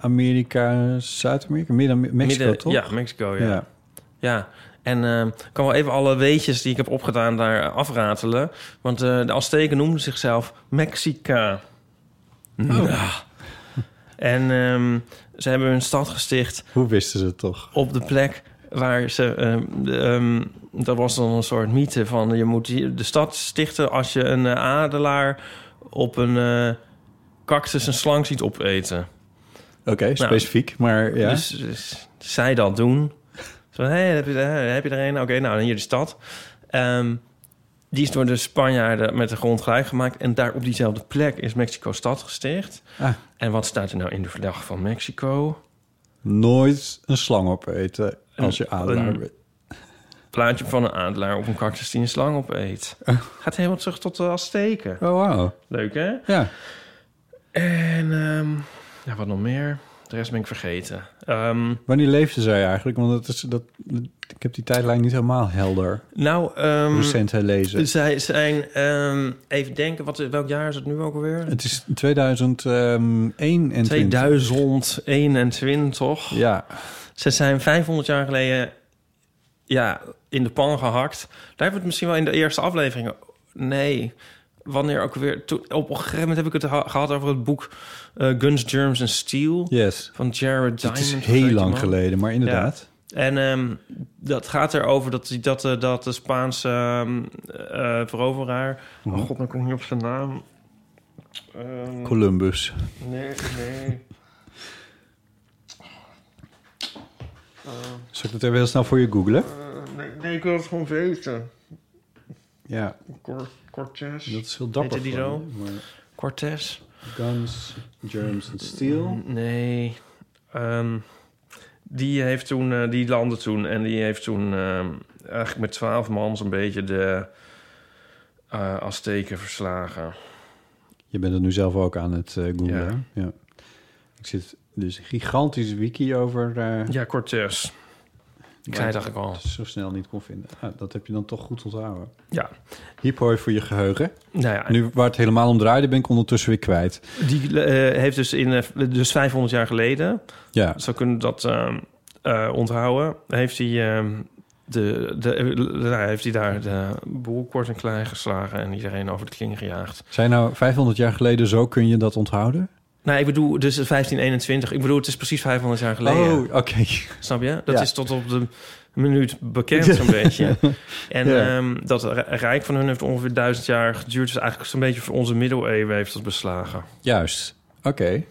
S2: Midden-Amerika, Zuid-Amerika? Midden-Mexico,
S3: Midden-
S2: toch?
S3: Ja, Mexico, ja.
S2: Ja.
S3: ja. En ehm, ik kan wel even alle weetjes die ik heb opgedaan daar afratelen. Want eh, de Azteken noemden zichzelf Mexica.
S2: Oh.
S3: Ja. En ehm, ze hebben hun stad gesticht
S2: Hoe wisten ze het toch?
S3: op de plek waar ze... ehm, de, ehm, dat was dan een soort mythe van... je moet hier de stad stichten als je een eh, adelaar op een eh, cactus een slang ziet opeten.
S2: Oké, specifiek, maar ja.
S3: Nou, Dus, dus zij dat doen. Zo, hé, heb, je, er- heb je er een? Oké, nou, dan hier de stad. Ehm, die is door de Spanjaarden met de grond gelijk gemaakt. En daar op diezelfde plek is Mexico-stad gesticht.
S2: Ah.
S3: En wat staat er nou in de verdrag van Mexico?
S2: Nooit een slang opeten als je
S3: Een-
S2: adelaar
S3: een-
S2: bent.
S3: plaatje van een adelaar op een cactus die een slang opeet. Gaat helemaal terug tot de Azteken.
S2: Oh, wauw.
S3: Leuk, hè?
S2: Ja.
S3: En ehm, ja, wat nog meer? De rest ben ik vergeten. Ehm,
S2: Wanneer leefden zij eigenlijk? Want dat is, dat, ik Ik heb die tijdlijn niet helemaal helder
S3: Nou, ehm,
S2: recent herlezen.
S3: zij zijn... ehm, even denken, wat, welk jaar is het nu ook alweer?
S2: Het is ehm, 2021.
S3: 2021.
S2: Ja,
S3: Ze zijn 500 jaar geleden ja, in de pan gehakt. Daar hebben we het misschien wel in de eerste aflevering. Nee, wanneer ook weer. Toen, op een gegeven moment heb ik het ha- gehad over het boek eh, Guns, Germs and Steel
S2: yes.
S3: van Jared
S2: Het
S3: Diamond.
S2: is
S3: of zo heet
S2: heel
S3: die
S2: lang
S3: man.
S2: geleden, maar inderdaad.
S3: En ehm, dat gaat erover dat, die- dat, eh, dat de Spaanse ehm, eh, veroveraar.
S2: Mhm.
S3: Oh god, dan kom ik niet op zijn naam. Ehm,
S2: Columbus.
S3: nee, nee.
S2: Zal ik dat even heel snel voor je googlen?
S3: Eh, nee, nee, ik wil het gewoon weten.
S2: Ja,
S3: Cor Cortez.
S2: dat is heel dapper.
S3: Heette die
S2: van je,
S3: zo?
S2: maar
S3: Cortez?
S2: Guns, Germs
S3: Mm.
S2: and Steel.
S3: Nee. Ehm, die, heeft toen, eh, die landde toen en die heeft toen ehm, eigenlijk met twaalf man zo'n beetje de eh Azteken verslagen.
S2: Je bent het nu zelf ook aan het eh, googlen. Ja. Ik zit dus een gigantische wiki over... eh,
S3: Ja, Cortez. Ik zei het eigenlijk al.
S2: Zo snel niet kon vinden. Ah, dat heb je dan toch goed onthouden.
S3: Ja.
S2: Hypooi voor je geheugen.
S3: Nou ja,
S2: Nu waar het helemaal om draaide, ben ik ondertussen weer kwijt.
S3: die eh, heeft dus, in, eh, dus 500 jaar geleden
S2: Ja,
S3: Zo kunnen we dat ehm, eh, onthouden. Heeft hij, ehm, de, de, eh, nou, heeft hij daar de boel kort en klein geslagen en iedereen over de kling gejaagd.
S2: zijn nou 500 jaar geleden zo kun je dat onthouden?
S3: Nou, ik bedoel, dus 1521. Ik bedoel, het is precies 500 jaar geleden.
S2: Oh, oké.
S3: Snap je? Dat
S2: Ja.
S3: is tot op de minuut bekend zo'n beetje. En
S2: Ja.
S3: ehm, dat ri- rijk van hun heeft ongeveer duizend jaar geduurd. Dus eigenlijk zo'n beetje voor onze middeleeuwen heeft dat beslagen.
S2: Juist. Oké.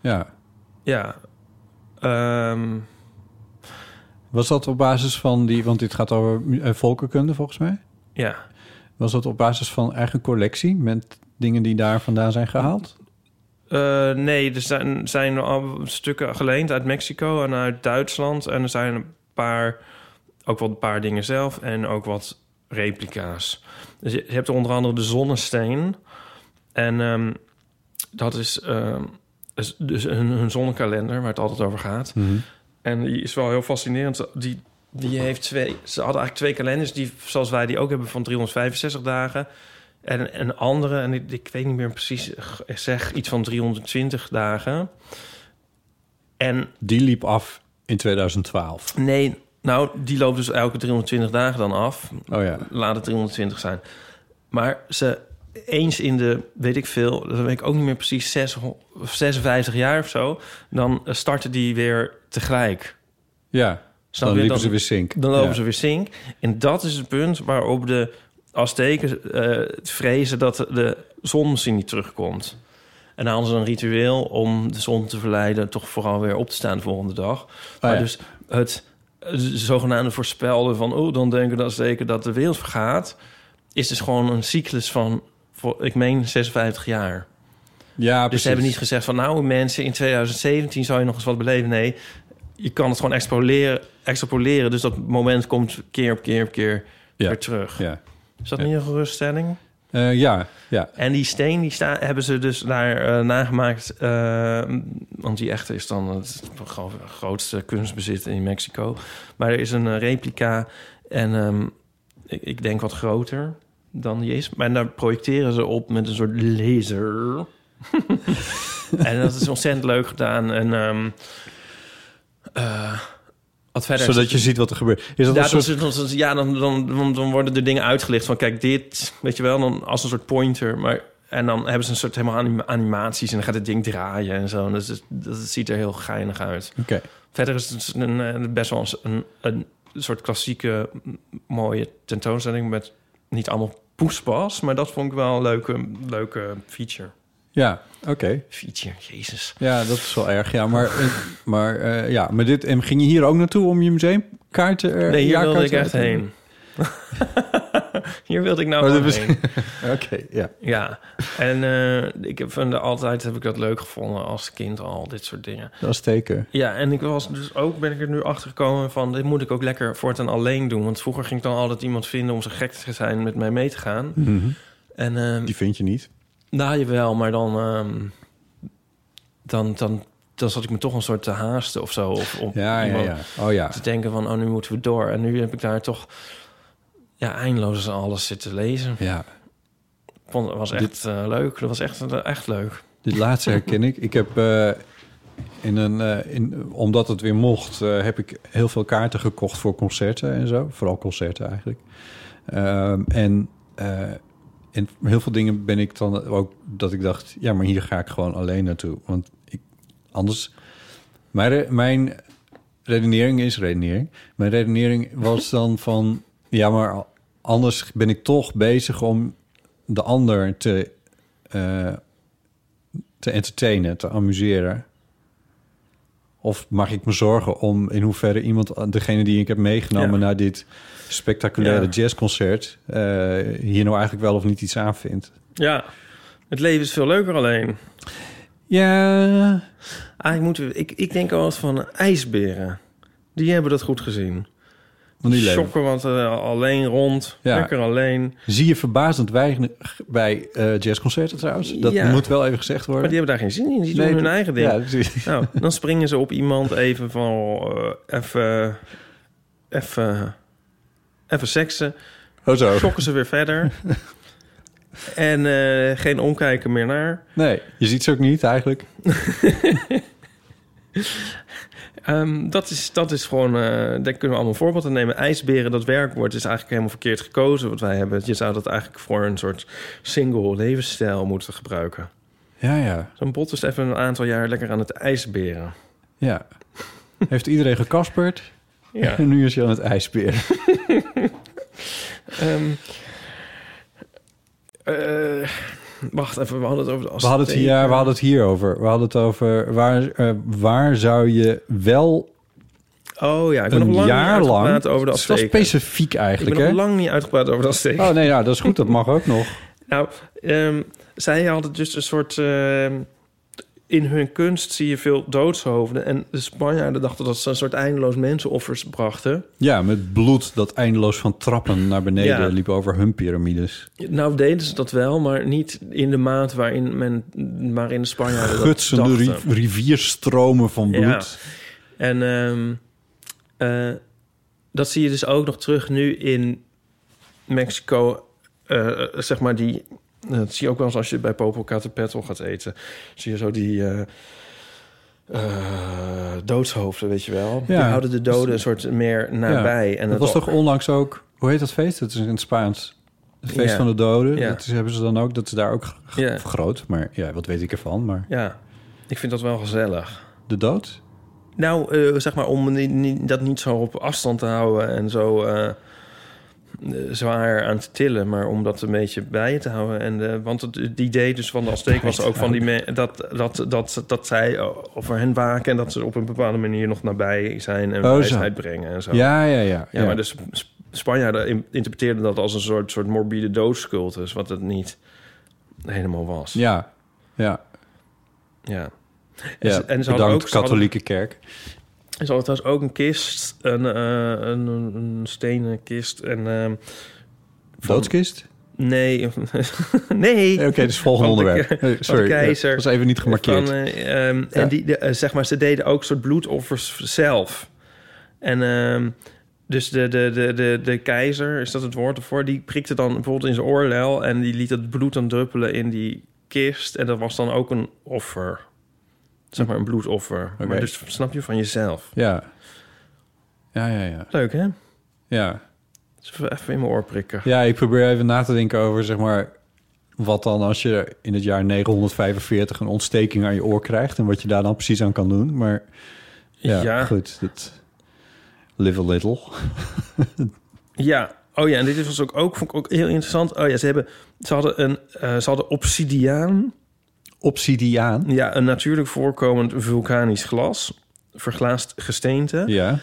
S2: Ja.
S3: Ja. Ehm,
S2: Was dat op basis van die, want dit gaat over eh, volkenkunde volgens mij.
S3: ja.
S2: Was dat op basis van eigen collectie met dingen die daar vandaan zijn gehaald?
S3: Eh, nee, er zijn, zijn al stukken geleend uit Mexico en uit Duitsland. En er zijn een paar, ook wel een paar dingen zelf en ook wat replica's. Dus je je hebt onder andere de zonnesteen. En ehm, dat is, ehm, is dus een, een zonnekalender waar het altijd over gaat. En die is wel heel fascinerend. Die, die heeft twee, ze hadden eigenlijk twee kalenders, die, zoals wij die ook hebben, van 365 dagen. En een andere, en ik, ik weet niet meer precies, g- zeg iets van 320 dagen. En
S2: Die liep af in 2012.
S3: nee, nou, die loopt dus elke 320 dagen dan af.
S2: Oh ja.
S3: Laat het 320 zijn. Maar ze eens in de, weet ik veel, dat weet ik ook niet meer precies, 6 of 56 jaar of zo, dan eh, starten die weer tegelijk.
S2: Ja. dan
S3: Snap je?
S2: liepen
S3: Dan-
S2: ze weer zink.
S3: Dan lopen
S2: Ja.
S3: ze weer zink. En dat is het punt waarop de Azteken eh, vrezen dat de zon misschien niet terugkomt. En dan hadden ze een ritueel om de zon te verleiden... toch vooral weer op te staan de volgende dag. maar
S2: Oh ja.
S3: dus het eh, zogenaamde voorspelden van... oh, dan denken de Azteken dat de wereld vergaat... is dus gewoon een cyclus van, voor- ik meen, 56 jaar.
S2: Ja,
S3: Dus
S2: precies.
S3: ze hebben niet gezegd van nou mensen, in 2017 zou je nog eens wat beleven. Nee, je kan het gewoon extrapoleren. extrapoleren dus dat moment komt keer op keer op keer
S2: Ja.
S3: weer terug.
S2: Ja.
S3: Is dat
S2: Ja.
S3: niet een geruststelling?
S2: Eh, ja, ja.
S3: En die steen die sta, hebben ze dus daar eh, nagemaakt. eh, want die echte is dan het gro- grootste kunstbezit in Mexico. Maar er is een eh, replica en ehm, ik, ik denk wat groter dan die is. Maar daar projecteren ze op met een soort laser. en dat is ontzettend leuk gedaan. En, ehm, eh, wat verder is
S2: Zodat je ziet wat er gebeurt. Is dat
S3: ja,
S2: een soort...
S3: dat is- dat is- ja dan, dan, dan, dan worden de dingen uitgelicht van kijk dit, weet je wel, dan als een soort pointer. Maar, en dan hebben ze een soort helemaal anima- animaties en dan gaat het ding draaien en zo. En dat, is, dus- dat ziet er heel geinig uit.
S2: Oké.
S3: Verder is het een, eh, best wel een, een soort klassieke m, mooie tentoonstelling met niet allemaal poespas. Maar dat vond ik wel een leuke, leuke feature.
S2: Ja, oké.
S3: Feature, jezus.
S2: Ja, dat is wel erg. Ja, maar, eh, maar, eh, ja, maar dit, en ging je hier ook naartoe om je museumkaarten? eh,
S3: Nee, hier wilde
S2: jaarkaarten
S3: ik echt
S2: te-
S3: heen. hier wilde ik nou
S2: Oh, dat
S3: gewoon
S2: was-
S3: heen.
S2: Oké, ja.
S3: Ja, en eh, ik heb, van de- altijd heb ik dat leuk gevonden als kind al, dit soort dingen.
S2: Dat is teken.
S3: Ja, en ik was dus ook, ben ik er nu achter gekomen van... dit moet ik ook lekker voortaan alleen doen. Want vroeger ging ik dan altijd iemand vinden om zo gek te zijn met mij mee te gaan.
S2: Mhm.
S3: En ehm
S2: Die vind je niet.
S3: nou, jawel, maar dan, ehm, dan, dan dan zat ik me toch een soort te haasten of zo. Of om
S2: Ja, ja,
S3: iemand
S2: ja. Oh ja.
S3: te denken van, oh, nu moeten we door. En nu heb ik daar toch ja, eindeloos alles zitten lezen.
S2: Ja.
S3: Ik vond- Het was echt eh, leuk. Dat was echt, echt leuk.
S2: Dit laatste herken ik. Ik heb eh, in een, eh, in, omdat het weer mocht, eh, heb ik heel veel kaarten gekocht voor concerten en zo. Vooral concerten eigenlijk. Ehm, en eh, in heel veel dingen ben ik dan ook dat ik dacht, ja, maar hier ga ik gewoon alleen naartoe. Want ik, anders. Mijn, re- mijn redenering is redenering. Mijn redenering was dan van, ja, maar anders ben ik toch bezig om de ander te. eh, te entertainen, te amuseren? Of mag ik me zorgen om in hoeverre iemand, degene die ik heb meegenomen
S3: Ja.
S2: naar dit spectaculaire
S3: Ja.
S2: jazzconcert, eh, hier nou eigenlijk wel of niet iets aan vindt?
S3: Ja, het leven is veel leuker alleen.
S2: Ja,
S3: Eigenlijk moeten we, ik, ik denk altijd van ijsberen. Die hebben dat goed gezien.
S2: want die leven.
S3: Shocken, want eh, alleen rond.
S2: Ja.
S3: Lekker alleen.
S2: Zie je verbazend weinig bij eh, jazzconcerten trouwens? Dat
S3: Ja.
S2: moet wel even gezegd
S3: Maar
S2: worden.
S3: die hebben daar geen zin in. Die doen
S2: Nee,
S3: hun
S2: dat-
S3: eigen ding.
S2: Ja, precies.
S3: Nou, dan springen ze op iemand even van... eh, even... even... Even seksen.
S2: Oh zo.
S3: Schokken ze weer verder. en eh, geen omkijken meer naar.
S2: Nee, je ziet ze ook niet eigenlijk.
S3: Ehm, dat, is, dat is gewoon... eh, daar kunnen we allemaal voorbeeld aan nemen. IJsberen, dat werkwoord, is eigenlijk helemaal verkeerd gekozen. Wat wij hebben. Je zou dat eigenlijk voor een soort single levensstijl moeten gebruiken.
S2: Ja, ja,
S3: Zo'n bot is even een aantal jaar lekker aan het ijsberen.
S2: ja. Heeft iedereen gekasperd?
S3: Ja.
S2: En nu is je aan het ijsberen.
S3: Ehm, eh, wacht even, we hadden het over de
S2: We hadden het hier, ja, we hadden het hier over. We hadden het over waar, eh, waar zou je wel
S3: Oh ja, ik ben
S2: een
S3: nog lang niet
S2: jaar lang.
S3: uitgepraat over de
S2: het is wel
S3: afsteken.
S2: specifiek
S3: Ik
S2: eigenlijk,
S3: ben
S2: hè?
S3: nog lang niet uitgepraat over de afsteken.
S2: Oh nee, ja, dat is goed. Dat mag ook nog.
S3: Nou, ehm, zij hadden dus een soort... ehm, in hun kunst zie je veel doodshoofden. En de Spanjaarden dachten dat ze een soort eindeloos mensenoffers brachten.
S2: Ja, met bloed dat eindeloos van trappen naar beneden
S3: Ja.
S2: liep over hun piramides.
S3: Nou deden ze dat wel, maar niet in de maat waarin, men, waarin de Spanjaarden dat
S2: Gutsende
S3: dachten.
S2: ri- rivierstromen van
S3: Ja.
S2: bloed.
S3: En ehm, eh, dat zie je dus ook nog terug nu in Mexico. eh, zeg maar die. eh, Dat zie je ook wel eens als je bij Popocatépetl gaat eten. Zie je zo die. eh eh, doodshoofden, weet je wel. Die houden de doden een soort meer nabij.
S2: dus- Ja.
S3: En
S2: dat was toch onlangs ook... Hoe heet dat feest? Dat is in het Spaans. Het feest
S3: Ja.
S2: van de doden.
S3: Ja.
S2: Dat is- hebben ze dan ook. Dat is daar ook g-
S3: Ja.
S2: vergroot. Maar ja, wat weet ik ervan? Maar
S3: Ja, ik vind dat wel gezellig.
S2: de dood?
S3: Nou, eh, zeg maar om ni- ni- dat niet zo op afstand te houden en zo eh, eh, zwaar aan te tillen, maar om dat een beetje bij je te houden. En, eh, want het, het idee dus van de Azteek was ook van die me- dat, dat, dat, dat zij over hen waken en dat ze op een bepaalde manier nog nabij zijn en
S2: Oh, zo.
S3: wijsheid brengen en zo.
S2: Ja, ja, ja.
S3: Ja, maar dus- de Sp- Sp- Spanjaarden in- interpreteerden dat als een soort, soort morbide doodscultus, wat het niet helemaal was.
S2: ja. ja.
S3: Ja. En
S2: Ja,
S3: ze- en ze hadden
S2: bedankt
S3: ook- ze hadden-
S2: katholieke kerk.
S3: Er zat trouwens ook een kist, een, eh, een, een, een stenen kist. En, ehm, van-
S2: Doodskist?
S3: Nee, nee.
S2: Eh, Oké, dus volgende
S3: Van de
S2: onderwerp.
S3: ke-
S2: Eh,
S3: van
S2: Sorry,
S3: de
S2: eh,
S3: keizer.
S2: was even niet gemarkeerd.
S3: Van, eh, ehm,
S2: Ja.
S3: En die, de, eh, zeg maar, ze deden ook soort bloedoffers zelf. En ehm, dus de, de, de, de, de keizer, is dat het woord ervoor? Die prikte dan bijvoorbeeld in zijn oorlel en die liet het bloed dan druppelen in die kist. En dat was dan ook een offer. Zeg maar een bloedoffer.
S2: Oké.
S3: Maar dus snap je van jezelf.
S2: Ja. Ja, ja, ja.
S3: Leuk hè?
S2: Ja.
S3: Dus Even in mijn oor prikken.
S2: Ja, ik probeer even na te denken over, zeg maar... wat dan als je in het jaar 945 een ontsteking aan je oor krijgt... en wat je daar dan precies aan kan doen. Maar ja,
S3: Ja.
S2: goed. Dat, live a little.
S3: Ja, oh ja, en dit was ook, ook, vond ik ook heel interessant. Oh ja, ze, hebben, ze, hadden een, eh, ze hadden obsidiaan,
S2: Obsidiaan.
S3: ja, een natuurlijk voorkomend vulkanisch glas, verglaasd gesteente.
S2: Ja.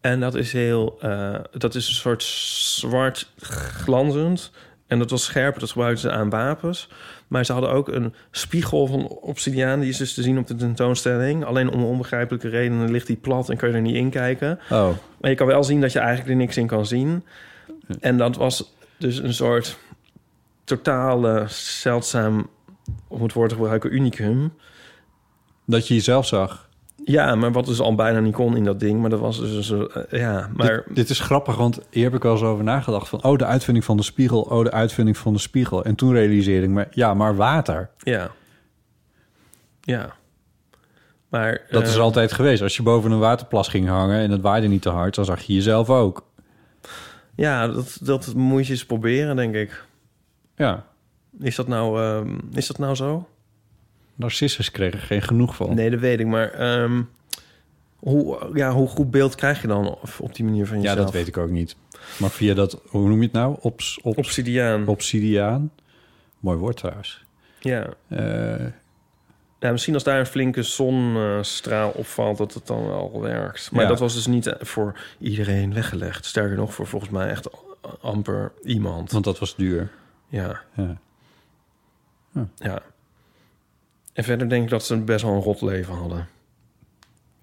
S3: En dat is heel, eh, dat is een soort zwart glanzend. En dat was scherp, dat gebruikten ze aan wapens. Maar ze hadden ook een spiegel van obsidiaan, die is dus te zien op de tentoonstelling. Alleen om onbegrijpelijke redenen ligt die plat en kan je er niet in kijken.
S2: Oh,
S3: Maar je kan wel zien dat je eigenlijk er niks in kan zien. En dat was dus een soort totale zeldzaam, om het woord te gebruiken, unicum.
S2: dat je jezelf zag.
S3: Ja, maar wat dus al bijna niet kon in dat ding. Maar dat was dus... een soort- eh, ja, maar...
S2: Dit, dit is grappig, want hier heb ik wel eens over nagedacht. Van, oh, de uitvinding van de spiegel, oh, de uitvinding van de spiegel. En toen realiseerde ik me, ja, maar water.
S3: Ja. Ja. Maar...
S2: Dat
S3: eh,
S2: is er altijd geweest. Als je boven een waterplas ging hangen en het waaide niet te hard... dan zag je jezelf ook.
S3: Ja, dat, dat moet je eens proberen, denk ik.
S2: Ja,
S3: Is dat nou, ehm, is dat nou zo?
S2: narcissus kregen er geen genoeg van.
S3: Nee, dat weet ik. Maar ehm, hoe, ja, hoe goed beeld krijg je dan op- op die manier van
S2: ja,
S3: jezelf?
S2: dat weet ik ook niet. Maar via dat, hoe noem je het nou? Ops, ops,
S3: Obsidiaan.
S2: Obsidiaan. Mooi woord trouwens.
S3: Ja.
S2: Eh,
S3: ja, misschien als daar een flinke zonstraal opvalt, dat het dan wel werkt. Maar
S2: Ja.
S3: dat was dus niet eh, voor iedereen weggelegd. Sterker nog, voor volgens mij echt amper iemand.
S2: want dat was duur.
S3: Ja,
S2: Ja.
S3: ja. En verder denk ik dat ze best wel een rot leven hadden.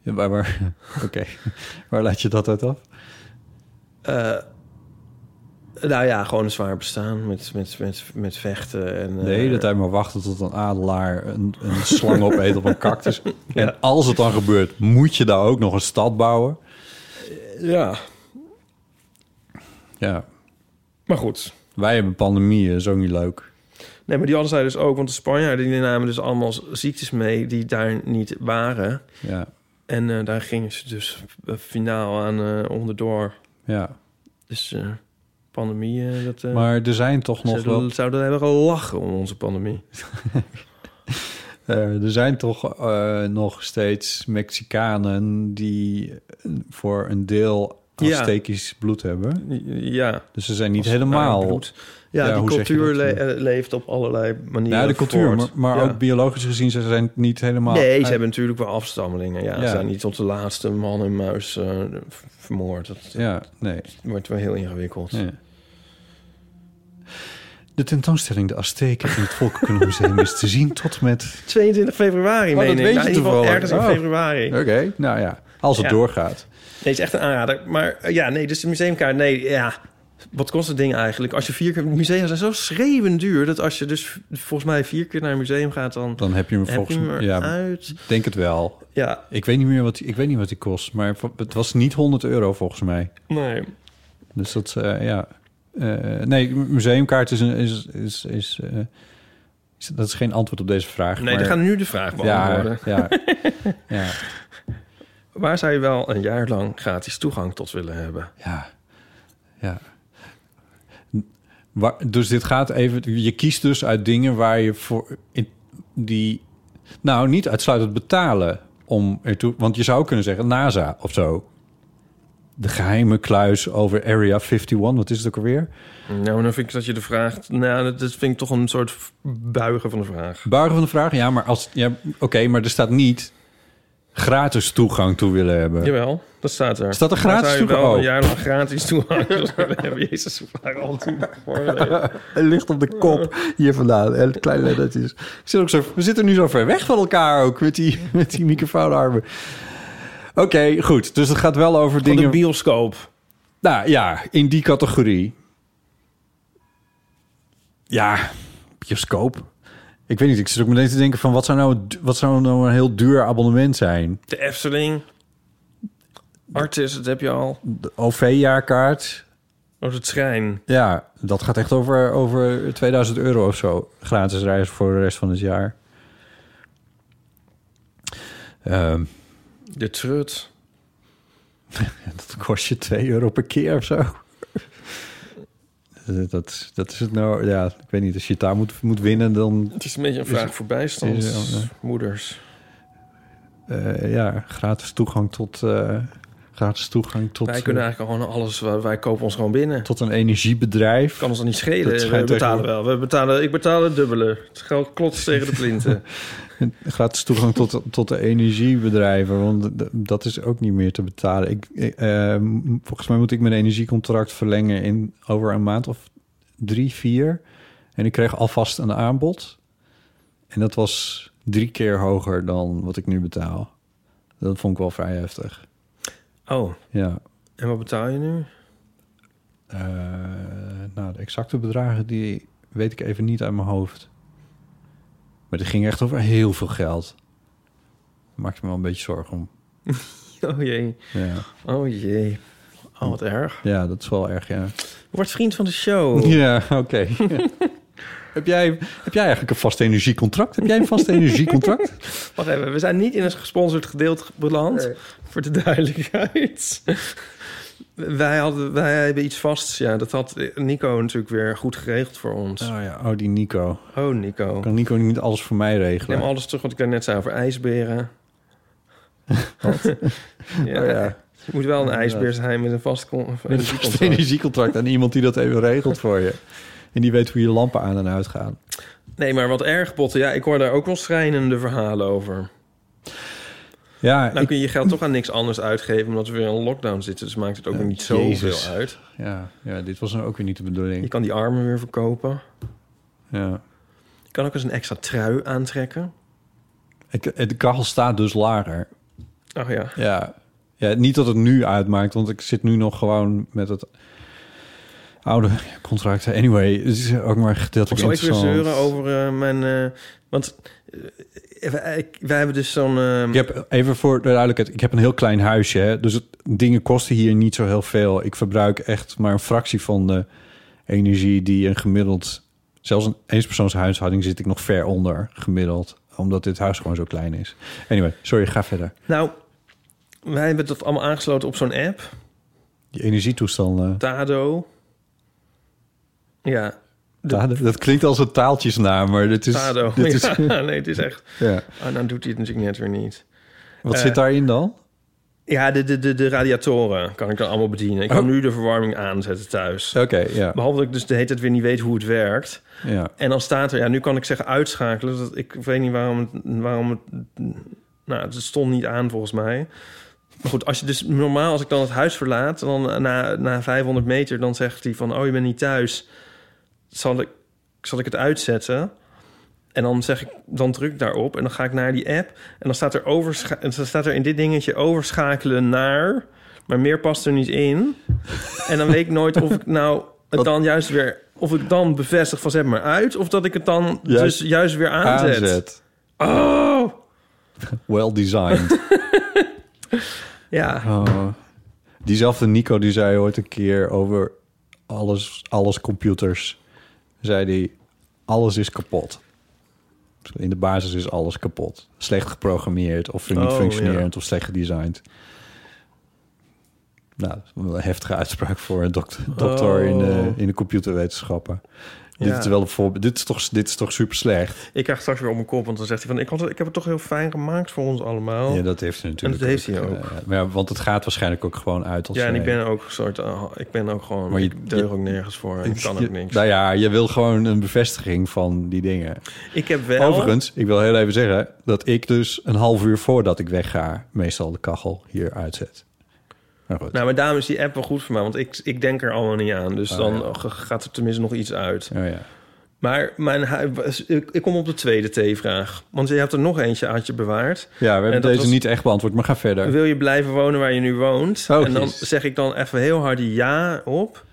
S2: Ja, maar, maar- Oké, waar laat je dat uit af?
S3: Nou ja, gewoon een zwaar bestaan met, met, met, met vechten. En, eh,
S2: De hele tijd maar wachten tot een adelaar een, een slang opeet op een cactus. En als het dan gebeurt, moet je daar ook nog een stad bouwen.
S3: Ja,
S2: Ja,
S3: maar goed.
S2: wij hebben pandemieën, is ook niet leuk.
S3: Nee, maar die hadden zij dus ook, want de Spanjaarden die namen dus allemaal ziektes mee die daar niet waren.
S2: Ja,
S3: En eh, daar gingen ze dus eh, finaal aan eh, onderdoor.
S2: ja.
S3: Dus eh, pandemie, eh, dat, eh,
S2: Maar er zijn toch nog
S3: ze
S2: wel...
S3: zouden hebben gelachen om onze pandemie.
S2: Eh, er zijn toch eh, nog steeds Mexicanen die voor een deel
S3: Ja.
S2: Aztekisch bloed hebben.
S3: Ja,
S2: Dus ze zijn niet
S3: Als-
S2: helemaal...
S3: maar bloed. Ja,
S2: Ja,
S3: die
S2: hoe zeg je
S3: cultuur
S2: dat?
S3: le- eh, leeft op allerlei manieren.
S2: Ja, de cultuur,
S3: voort.
S2: maar, maar
S3: Ja.
S2: ook biologisch gezien, ze zijn niet helemaal...
S3: Nee, ze
S2: uit-
S3: hebben natuurlijk wel afstammelingen. Ja,
S2: Ja.
S3: Ze zijn niet tot de laatste man en muis eh, v- vermoord. Dat
S2: Ja, nee.
S3: wordt wel heel ingewikkeld.
S2: Ja. De tentoonstelling De Azteken in het Volkenkundemuseum is te zien tot en met...
S3: 22 februari,
S2: Oh,
S3: meen
S2: dat
S3: ik.
S2: weet
S3: Nou,
S2: je
S3: in ieder geval
S2: toevallig.
S3: ergens in
S2: Oh.
S3: februari.
S2: Oké, nou ja, als het
S3: Ja.
S2: doorgaat.
S3: Nee, het is echt een aanrader. Maar eh, ja, nee, dus de museumkaart, nee, ja. Wat kost het ding eigenlijk? Als je vier keer... Musea zijn zo schreeuwend duur... dat als je dus volgens mij vier keer naar een museum gaat... dan
S2: Dan heb je hem
S3: heb je
S2: volgens
S3: hem
S2: mij... Ja,
S3: eruit.
S2: denk het wel.
S3: Ja,
S2: Ik weet niet meer wat, die- ik weet niet wat die kost, maar het was niet 100 euro volgens mij.
S3: nee.
S2: Dus dat, eh, ja... Eh, nee, museumkaart is... Een, is, is, is, eh, is- dat is geen antwoord op deze vraag.
S3: Nee, dan
S2: maar-
S3: gaan we nu de vraag beantwoorden.
S2: ja, ja, ja,
S3: Waar zou je wel een jaar lang gratis toegang tot willen hebben?
S2: Ja, ja. Waar, dus dit gaat even... Je kiest dus uit dingen waar je voor... In, die, nou, niet uitsluitend betalen om ertoe... Want je zou kunnen zeggen NASA of zo. De geheime kluis over Area 51. Wat is het ook alweer?
S3: Nou, dan vind ik dat je de vraag... Nou, dat- dat vind ik toch een soort buigen van de vraag.
S2: Buigen van de vraag. Ja, maar als... Ja, Oké, maar er staat niet gratis toegang toe willen hebben.
S3: Jawel, dat staat er.
S2: Staat er
S3: Waar
S2: gratis
S3: zou je wel
S2: toegang? Oh.
S3: een jaar lang gratis toegang willen hebben? Jezus, we waren al toen voorlezen.
S2: Het ligt op de kop hier vandaan. En kleine lettertjes. Ik zit ook zo, we zitten nu zo ver weg van elkaar ook met die, met die microfoonarmen. Oké, goed. Dus het gaat wel over
S3: Van de
S2: dingen.
S3: bioscoop.
S2: Nou ja, in die categorie. Ja, bioscoop. Ik weet niet, ik zit ook meteen te denken van wat zou nou, het- wat zou nou een heel duur abonnement zijn?
S3: De Efteling. Artis, dat heb je al.
S2: De OV-jaarkaart.
S3: Oh, de trein.
S2: Ja, dat gaat echt over, over 2000 euro of zo. Gratis reizen voor de rest van het jaar. Ehm,
S3: De trut.
S2: dat kost je 2 euro per keer of zo. Dat- Dat, dat is het nou. Ja, ik weet niet. Als je het daar moet, moet winnen, dan
S3: Het is een beetje een
S2: Is
S3: vraag
S2: het-
S3: voor bijstand.
S2: is het- oh, nee.
S3: Moeders.
S2: eh, ja, gratis toegang tot. eh, gratis toegang tot.
S3: wij kunnen
S2: eh,
S3: eigenlijk gewoon alles... Wij, wij kopen ons gewoon binnen.
S2: tot een energiebedrijf.
S3: kan ons dan niet
S2: Dat
S3: schelen. We
S2: schijnt
S3: betalen
S2: tegenwoordig-
S3: wel. We betalen, ik betaal het dubbele. Het geld klotst tegen de plinten.
S2: Gratis toegang tot, tot de energiebedrijven, want d- dat is ook niet meer te betalen. Ik, ik, eh, m- volgens mij moet ik mijn energiecontract verlengen in over een maand of drie, vier. En ik kreeg alvast een aanbod. En dat was drie keer hoger dan wat ik nu betaal. Dat vond ik wel vrij heftig.
S3: Oh,
S2: Ja.
S3: en wat betaal je nu?
S2: Eh, nou, de exacte bedragen die weet ik even niet uit mijn hoofd. Maar het ging echt over heel veel geld. maak ik me wel een beetje zorgen om.
S3: Oh jee.
S2: Ja,
S3: Oh jee. Oh, wat erg.
S2: ja dat is wel erg, ja.
S3: Word vriend van de show.
S2: Ja, oké. Ja. heb, jij, heb jij eigenlijk een vast energiecontract? Heb jij een vast energiecontract?
S3: Wacht even, we zijn niet in een gesponsord gedeelte beland. Voor de duidelijkheid. wij, hadden, wij hebben iets vasts. Ja, dat had Nico natuurlijk weer goed geregeld voor ons.
S2: Oh ja, oh die Nico.
S3: Oh, Nico.
S2: Kan Nico niet alles voor mij
S3: Ik neem
S2: regelen?
S3: alles terug wat ik daarnet zei over ijsberen. ja,
S2: Oh ja.
S3: Je moet wel een ijsbeer zijn met een vast con-
S2: Met een vast energiecontract aan iemand die dat even regelt voor je. En die weet hoe je lampen aan en uit gaan.
S3: Nee, maar wat erg, Botten. Ja, ik hoor daar ook wel schrijnende verhalen over.
S2: Ja,
S3: Nou
S2: ik-
S3: kun je je geld toch aan niks anders uitgeven... omdat we weer in een lockdown zitten. Dus maakt het ook
S2: Ja,
S3: weer niet zoveel
S2: Jezus.
S3: uit.
S2: ja, ja, dit was nou ook weer niet de
S3: Je
S2: bedoeling.
S3: kan die armen weer verkopen.
S2: Ja.
S3: Je kan ook eens een extra trui aantrekken.
S2: Ik, de kachel staat dus lager.
S3: Oh ja.
S2: Ja. ja, niet dat het nu uitmaakt, want ik zit nu nog gewoon met het oude contract. Anyway, het is ook maar
S3: Of
S2: gedeeltelijk
S3: zal ik weer
S2: interessant.
S3: zeuren over eh, mijn... eh, want eh, wij, ik- wij hebben dus zo'n... eh,
S2: Ik heb even voor de duidelijkheid, ik heb een heel klein huisje, hè, dus het, dingen kosten hier niet zo heel veel. Ik verbruik echt maar een fractie van de energie die een gemiddeld, zelfs een eenspersoonshuishouding zit ik nog ver onder gemiddeld, omdat dit huis gewoon zo klein is. Anyway, sorry, ga verder.
S3: Nou, wij hebben dat allemaal aangesloten op zo'n app.
S2: Die energietoestanden,
S3: Tado. Ja,
S2: Tade, dat klinkt als een taaltjesnaam, maar dit is...
S3: Tado.
S2: Dit is
S3: ja, nee, het is echt...
S2: ja.
S3: Oh, nou doet hij het natuurlijk net weer niet.
S2: Wat
S3: Eh,
S2: zit daarin dan?
S3: Ja, de, de, de, de radiatoren kan ik dan allemaal bedienen. Ik kan
S2: Oh.
S3: nu de verwarming aanzetten thuis.
S2: Oké, ja.
S3: Behalve dat ik dus de hele tijd weer niet weet hoe het werkt.
S2: ja.
S3: En dan staat er... Ja, nu kan ik zeggen uitschakelen. Dat, ik weet niet waarom het, waarom het... Nou, het stond niet aan volgens mij. Maar goed, als je dus normaal, als ik dan het huis verlaat... dan eh, na, na 500 meter, dan zegt hij van... oh, je bent niet thuis. Zal ik, zal ik het uitzetten? En dan zeg ik, dan druk ik daarop en dan ga ik naar die app. En dan staat er, overscha- en dan staat er in dit dingetje overschakelen naar... maar meer past er niet in. En dan weet ik nooit of ik nou het dan juist weer... of ik dan bevestig van zet maar uit... of dat ik het dan
S2: Juist-
S3: dus juist weer aanzet. Oh!
S2: Well designed.
S3: Ja,
S2: Oh. Diezelfde Nico die zei ooit een keer over alles, alles computers. Zei die, alles is kapot. In de basis is alles kapot. Slecht geprogrammeerd of niet
S3: Oh,
S2: functionerend of slecht gedesigned. Nou, dat is wel een heftige uitspraak voor een dokt- dokter in, de,
S3: Oh.
S2: in de computerwetenschappen.
S3: Ja.
S2: Dit, is wel een voorbeeld. dit, is toch, dit is toch super slecht?
S3: ik krijg straks weer op mijn kop, want dan zegt hij van... ik, had het, ik heb het toch heel fijn gemaakt voor ons allemaal.
S2: Ja, dat heeft hij
S3: Oh. en
S2: natuurlijk. eh,
S3: dat heeft hij ook.
S2: Ja, maar ja, want het gaat waarschijnlijk ook gewoon uit als
S3: Ja, en
S2: zij-
S3: ik ben ook een soort, ah, ik ben ook gewoon,
S2: Maar je-
S3: ik deug ook nergens voor en ik kan
S2: Je-
S3: ook niks.
S2: Nou ja, je wil gewoon een bevestiging van die dingen.
S3: Ik heb wel,
S2: Overigens, ik wil heel even zeggen dat ik dus een half uur voordat ik wegga... meestal de kachel hier uitzet. Maar goed.
S3: nou, maar daarom is die app wel goed voor mij, want ik, ik denk er allemaal niet aan. Dus
S2: Ah,
S3: dan
S2: ja.
S3: g- gaat er tenminste nog iets uit.
S2: Oh ja.
S3: Maar mijn, hui- was- ik, ik kom op de tweede T-vraag, want je hebt er nog eentje had je bewaard.
S2: ja, we
S3: En
S2: hebben
S3: dat
S2: deze
S3: was-
S2: niet echt beantwoord, maar ga verder.
S3: Wil je blijven wonen waar je nu woont?
S2: Oh,
S3: en dan
S2: jezus.
S3: zeg ik dan even heel hard ja op,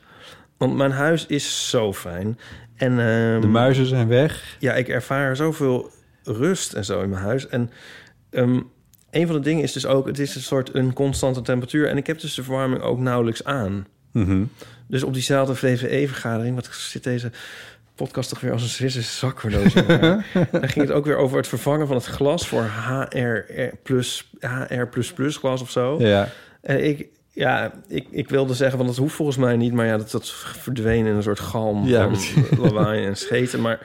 S3: want mijn huis is zo fijn. En, ehm,
S2: De muizen zijn weg.
S3: ja, ik ervaar zoveel rust en zo in mijn huis. En ehm, een van de dingen is dus ook, het is een soort een constante temperatuur. En ik heb dus de verwarming ook nauwelijks aan.
S2: Mhm.
S3: Dus op diezelfde VVE-vergadering, wat zit deze podcast toch weer als een Zwitserse zakverdoos. in elkaar. Daar ging het ook weer over het vervangen van het glas voor HR plus, HR glas of zo.
S2: Ja.
S3: En Eh, ik, ja, ik, ik wilde zeggen, want dat hoeft volgens mij niet. Maar ja, dat, dat verdween in een soort galm
S2: Ja,
S3: van
S2: precies.
S3: lawaai en scheten. Maar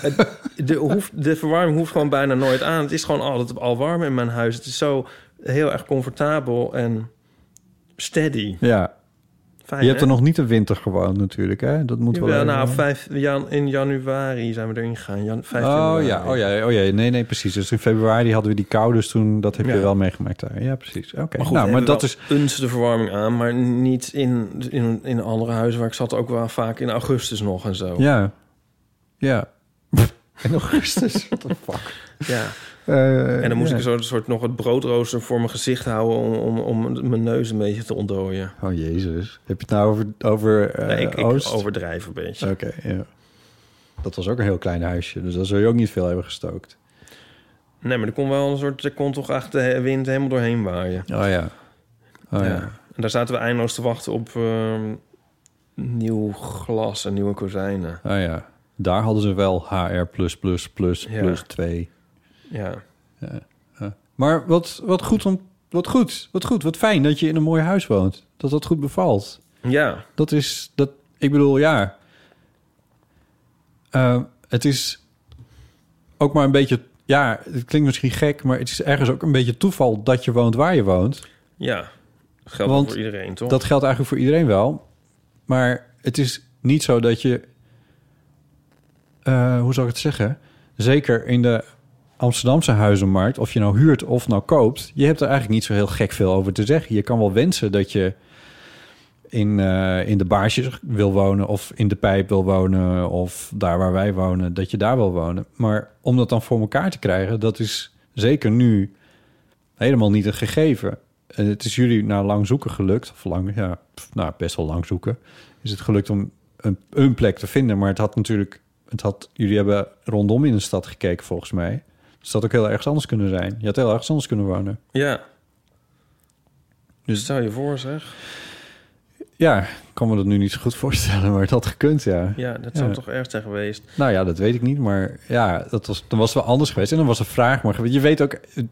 S3: het- de, hoeft, de verwarming hoeft gewoon bijna nooit aan. Het is gewoon altijd al warm in mijn huis. Het is zo heel erg comfortabel en steady.
S2: ja.
S3: Fijn,
S2: Je hebt er
S3: hè?
S2: nog niet de winter gewoond natuurlijk, hè? Dat moet wel
S3: Ah, Jawel,
S2: even-
S3: nou, vijf, jan, in januari zijn we erin gegaan. Jan, 5
S2: Oh
S3: januari.
S2: ja, oh ja, oh ja, nee, nee, precies. Dus in februari hadden we die kou, dus toen, dat heb
S3: Ja.
S2: je wel meegemaakt daar. Ja, precies. Oké,
S3: Maar goed,
S2: nou, maar dat is...
S3: Eens de verwarming aan, maar niet in, in, in andere huizen waar ik zat. Ook wel vaak in augustus nog en zo.
S2: Ja. Ja. In augustus. What the fuck.
S3: ja.
S2: Eh,
S3: En dan moest
S2: ja.
S3: ik zo'n soort nog het broodrooster voor mijn gezicht houden om, om, om mijn neus een beetje te ontdooien.
S2: Oh, jezus. Heb je het nou over, over eh,
S3: Nee, ik, ik
S2: Oost? Eh.
S3: overdrijf een beetje.
S2: Oké, ja. Dat was ook een heel klein huisje, dus daar zou je ook niet veel hebben gestookt.
S3: Nee, maar er kon wel een soort... Er kon toch echt de wind helemaal doorheen waaien.
S2: Oh ja. Oh ja.
S3: ja. En daar zaten we eindeloos te wachten op ehm, nieuw glas en nieuwe kozijnen.
S2: Oh ja. Daar hadden ze wel HR+++++2.
S3: Ja. Ja.
S2: Maar wat, wat goed om... Wat goed, wat goed, wat fijn dat je in een mooi huis woont. Dat dat goed bevalt.
S3: Ja.
S2: Dat is... Dat, ik bedoel, ja. Eh, het is ook maar een beetje... Ja, het klinkt misschien gek, maar het is ergens ook een beetje toeval dat je woont waar je woont.
S3: Ja. Dat geldt
S2: Want
S3: voor iedereen, toch?
S2: Dat geldt eigenlijk voor iedereen wel. Maar het is niet zo dat je... eh, hoe zou ik het zeggen? Zeker in de Amsterdamse huizenmarkt, of je nou huurt of nou koopt... je hebt er eigenlijk niet zo heel gek veel over te zeggen. Je kan wel wensen dat je in, eh, in de baarsjes wil wonen... of in de pijp wil wonen, of daar waar wij wonen... dat je daar wil wonen. Maar om dat dan voor elkaar te krijgen... dat is zeker nu helemaal niet een gegeven. En het is jullie na lang zoeken gelukt, of lang, ja, pff, nou, best wel lang zoeken, is het gelukt om een, een plek te vinden. Maar het had natuurlijk, het had, jullie hebben rondom in de stad gekeken volgens mij. Dus het had ook heel ergens anders kunnen zijn. Je had heel ergens anders kunnen wonen.
S3: Ja.
S2: Dus-
S3: Dus stel je voor, zeg.
S2: Ja, ik kan me dat nu niet zo goed voorstellen, maar het had gekund, ja.
S3: Ja, dat
S2: Ja.
S3: zou toch erg zijn geweest.
S2: Nou ja, dat weet ik niet, maar ja, dat was, dan was het wel anders geweest. En dan was de vraag maar... geweest. Je weet ook, eh,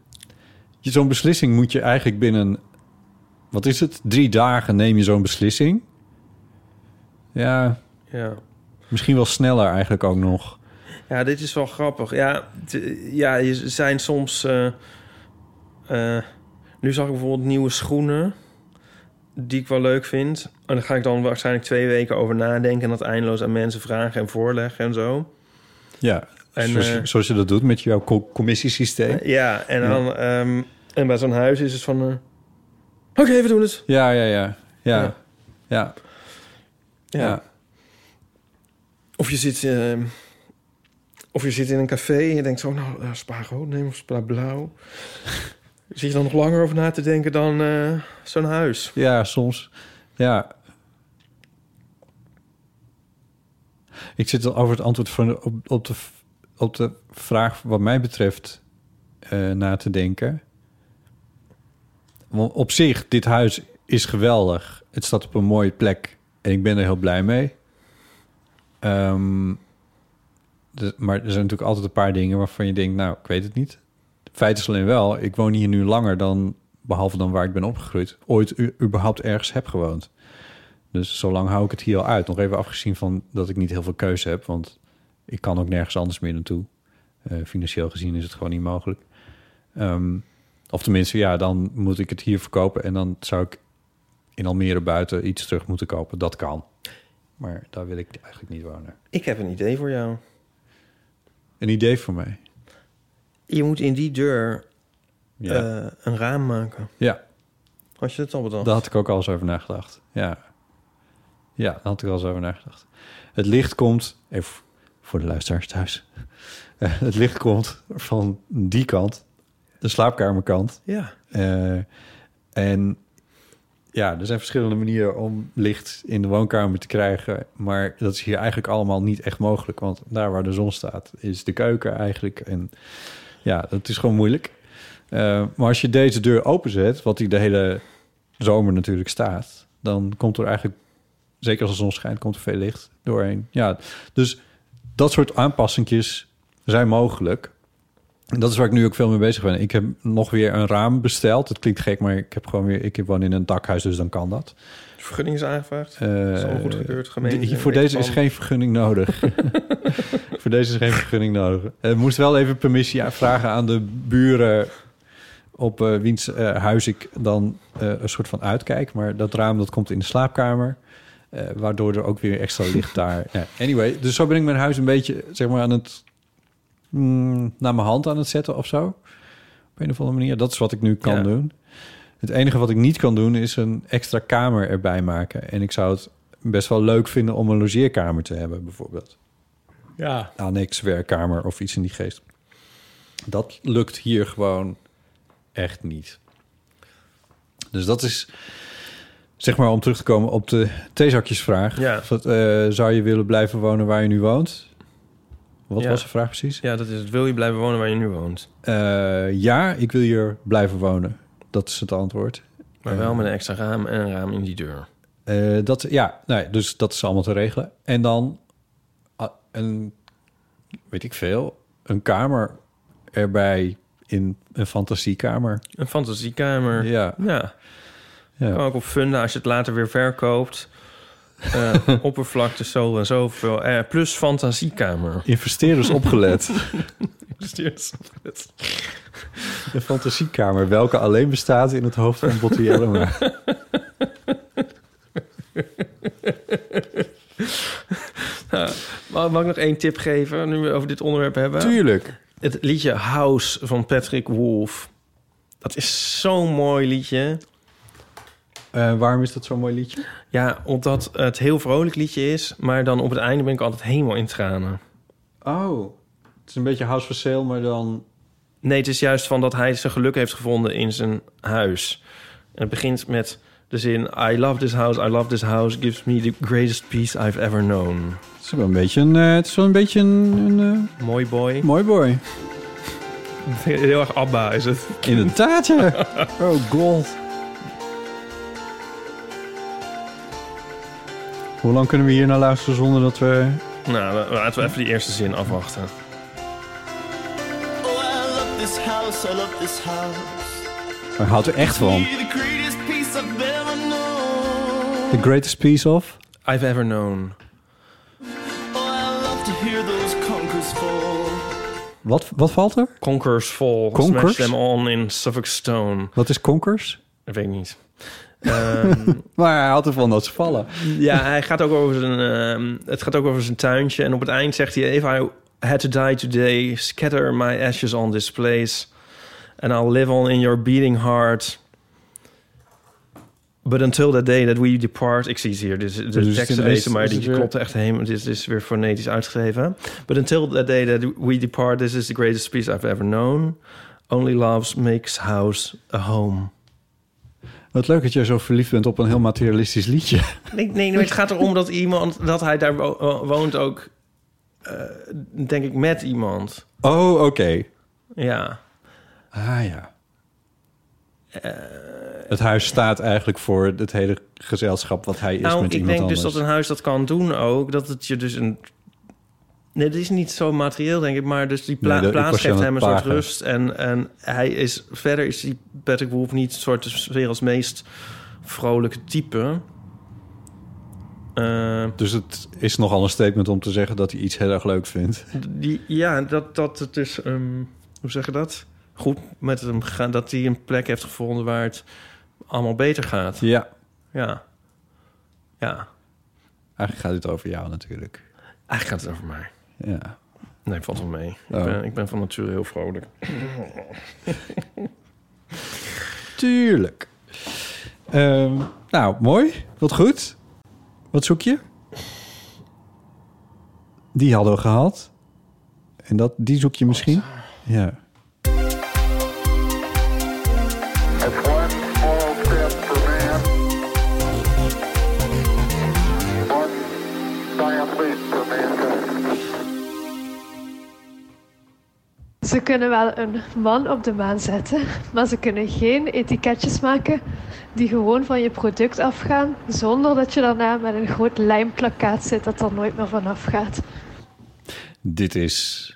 S2: je- zo'n beslissing moet je eigenlijk binnen... Wat is het? Drie dagen neem je zo'n beslissing. Ja,
S3: Ja.
S2: Misschien wel sneller eigenlijk ook nog.
S3: Ja, dit is wel grappig. Ja, t- ja je z- zijn soms... eh, eh, nu zag ik bijvoorbeeld nieuwe schoenen... die ik wel leuk vind. En daar ga ik dan waarschijnlijk twee weken over nadenken... en dat eindeloos aan mensen vragen en voorleggen en zo.
S2: Ja,
S3: En,
S2: zoals,
S3: eh,
S2: zoals je dat doet met jouw co- commissiesysteem.
S3: Ja, en, dan, ehm, en bij zo'n huis is het van... eh, Oké, we doen het.
S2: Ja, ja, ja. Ja, ja.
S3: Ja.
S2: ja.
S3: Of je zit... ehm, of je zit in een café en je denkt zo, nou, eh, spa rood nemen of spa blauw. Zit je dan nog langer over na te denken dan eh, zo'n huis?
S2: Ja, soms. Ja. Ik zit al over het antwoord van, op, op, de, v- op de vraag wat mij betreft eh, na te denken. Want op zich, dit huis is geweldig. Het staat op een mooie plek en ik ben er heel blij mee. Ehm, de- maar er zijn natuurlijk altijd een paar dingen waarvan je denkt, nou, ik weet het niet. Feit is alleen wel, ik woon hier nu langer dan, behalve dan waar ik ben opgegroeid, ooit u- überhaupt ergens heb gewoond. Dus zolang hou ik het hier al uit. Nog even afgezien van dat ik niet heel veel keuze heb, want ik kan ook nergens anders meer naartoe. Eh, financieel gezien is het gewoon niet mogelijk. Ehm, of tenminste, ja, dan moet ik het hier verkopen en dan zou ik in Almere buiten iets terug moeten kopen. Dat kan. Maar daar wil ik eigenlijk niet wonen.
S3: Ik heb een idee voor jou.
S2: Een idee voor mij.
S3: Je moet in die deur
S2: Ja,
S3: eh, een raam maken.
S2: ja
S3: Had je dat al bedacht?
S2: Daar had ik ook al eens over nagedacht. Ja. Ja, daar had ik al eens over nagedacht. Het licht komt, even voor de luisteraars thuis. Eh, Het licht komt van die kant, de slaapkamerkant.
S3: Ja.
S2: Eh, en ja, er zijn verschillende manieren om licht in de woonkamer te krijgen. Maar dat is hier eigenlijk allemaal niet echt mogelijk. Want daar waar de zon staat, is de keuken eigenlijk. En ja, dat is gewoon moeilijk. Eh, maar als je deze deur openzet, wat die de hele zomer natuurlijk staat, dan komt er eigenlijk, zeker als de zon schijnt, komt er veel licht doorheen. Ja, dus dat soort aanpassingjes zijn mogelijk. En dat is waar ik nu ook veel mee bezig ben. Ik heb nog weer een raam besteld. Het klinkt gek, maar ik heb gewoon weer. Ik woon in een dakhuis, dus dan kan dat.
S3: De vergunning is aangevraagd.
S2: Eh,
S3: is al goed gekeurd, gemeente.
S2: de- voor deze is
S3: Plan.
S2: geen vergunning nodig. voor deze is geen vergunning nodig. Er moest wel even permissie vragen aan de buren. op eh, wiens eh, huis ik dan eh, een soort van uitkijk. Maar dat raam dat komt in de slaapkamer. eh, waardoor er ook weer extra licht daar. Ja, anyway, dus zo ben ik mijn huis een beetje zeg maar aan het. mm, naar mijn hand aan het zetten of zo. Op een of andere manier. Dat is wat ik nu kan
S3: Ja.
S2: doen. Het enige wat ik niet kan doen is een extra kamer erbij maken. En ik zou het best wel leuk vinden om een logeerkamer te hebben, bijvoorbeeld.
S3: Ja.
S2: Annex, werkkamer of iets in die geest. Dat lukt hier gewoon echt niet. Dus dat is, zeg maar, om terug te komen op de theezakjesvraag.
S3: Ja.
S2: Of dat, eh, zou je willen blijven wonen waar je nu woont? Wat
S3: Ja.
S2: was de vraag precies?
S3: Ja, dat is het. Wil je blijven wonen waar je nu woont?
S2: Eh, ja, ik wil hier blijven wonen. Dat is het antwoord.
S3: Maar wel met een extra raam en een raam in die deur.
S2: Eh, dat, ja, nee, dus dat is allemaal te regelen. En dan ah, een, weet ik veel, een kamer erbij in een fantasiekamer.
S3: Een fantasiekamer.
S2: Ja,
S3: Ja.
S2: ja.
S3: Kan ook op funda als je het later weer verkoopt. Eh, oppervlakte zo en zoveel. Eh, plus fantasiekamer.
S2: Investeerders opgelet.
S3: Stuurt-
S2: Een fantasiekamer, welke alleen bestaat in het hoofd van Botti Jellema.
S3: Mag, mag ik nog één tip geven, nu we over dit onderwerp hebben?
S2: Tuurlijk.
S3: Het liedje House van Patrick Wolf. Dat is zo'n mooi liedje.
S2: Eh, waarom is dat zo'n mooi liedje?
S3: Ja, omdat het heel vrolijk liedje is, maar dan op het einde ben ik altijd helemaal in tranen.
S2: Oh, het is een beetje House for Sale, maar dan...
S3: Nee, het is juist van dat hij zijn geluk heeft gevonden in zijn huis. En het begint met de zin... I love this house, I love this house. Gives me the greatest peace I've ever known.
S2: Het is wel een beetje een, eh, het is wel een, beetje een, een,
S3: Mooi boy.
S2: eh, mooi boy.
S3: Heel erg Abba is het.
S2: Inderdaad, ja. Oh, god. Hoe lang kunnen we hier naar luisteren zonder dat we...
S3: Nou, laten we even die eerste zin afwachten.
S4: Oh, I love this house, I love this house.
S2: Daar houdt er echt van.
S4: You're the greatest piece I've ever known.
S2: The greatest piece of...
S3: I've ever known.
S4: Oh, I love to hear those conkers fall.
S2: Wat, wat valt er?
S3: Conkers vol.
S2: Conkers?
S3: Smash them on in Suffolk Stone.
S2: Wat is konkers?
S3: Dat weet ik niet. Ehm,
S2: Maar hij houdt ervan dat ze vallen.
S3: ja, hij gaat ook over zijn, ehm, het gaat ook over zijn tuintje. En op het eind zegt hij... If I had to die today, scatter my ashes on this place. And I'll live on in your beating heart. But until that day that we depart... Ik zie het hier, dus de
S2: Dus het
S3: tekst
S2: is
S3: lezen, maar
S2: is
S3: die
S2: het weer-
S3: klopt echt helemaal. Dit is weer fonetisch uitgegeven. But until that day that we depart, this is the greatest peace I've ever known. Only love makes house a home.
S2: Wat leuk dat jij zo verliefd bent op een heel materialistisch liedje.
S3: Nee, nee, nee, het gaat erom dat iemand, dat hij daar wo- wo- woont ook, eh, denk ik, met iemand.
S2: Oh, oké.
S3: Ja.
S2: Ah, ja. Eh, het huis staat eigenlijk voor het hele gezelschap wat hij is
S3: nou,
S2: met
S3: ik
S2: iemand
S3: denk
S2: anders.
S3: dus dat een huis dat kan doen ook, dat het je dus een... Nee, dat is niet zo materieel, denk ik, maar dus die pla-
S2: Nee, dat- ik
S3: plaats
S2: was je
S3: geeft
S2: aan
S3: hem een
S2: het
S3: soort
S2: plagen.
S3: rust. En, en hij is, verder is die Patrick Wolf niet een soort de werelds meest vrolijke type. Eh,
S2: Dus het is nogal een statement om te zeggen dat hij iets heel erg leuk vindt.
S3: Die, ja, dat, dat het dus, ehm, hoe zeg je dat? Goed met hem gaan, dat hij een plek heeft gevonden waar het allemaal beter gaat.
S2: Ja.
S3: Ja. Ja.
S2: Eigenlijk gaat dit over jou natuurlijk.
S3: Eigenlijk gaat het over mij.
S2: Ja.
S3: Nee, valt wel mee.
S2: Oh.
S3: Ik, ben, ik ben van nature heel vrolijk.
S2: Tuurlijk. Ehm, nou, mooi. Wat goed. Wat zoek je? Die hadden we gehad. En dat, die zoek je misschien? Ja.
S5: That's one small step for man, one giant leap for mankind.
S6: Ze kunnen wel een man op de maan zetten, maar ze kunnen geen etiketjes maken die gewoon van je product afgaan, zonder dat je daarna met een groot lijmplakkaat zit dat er nooit meer vanaf gaat.
S2: Dit is,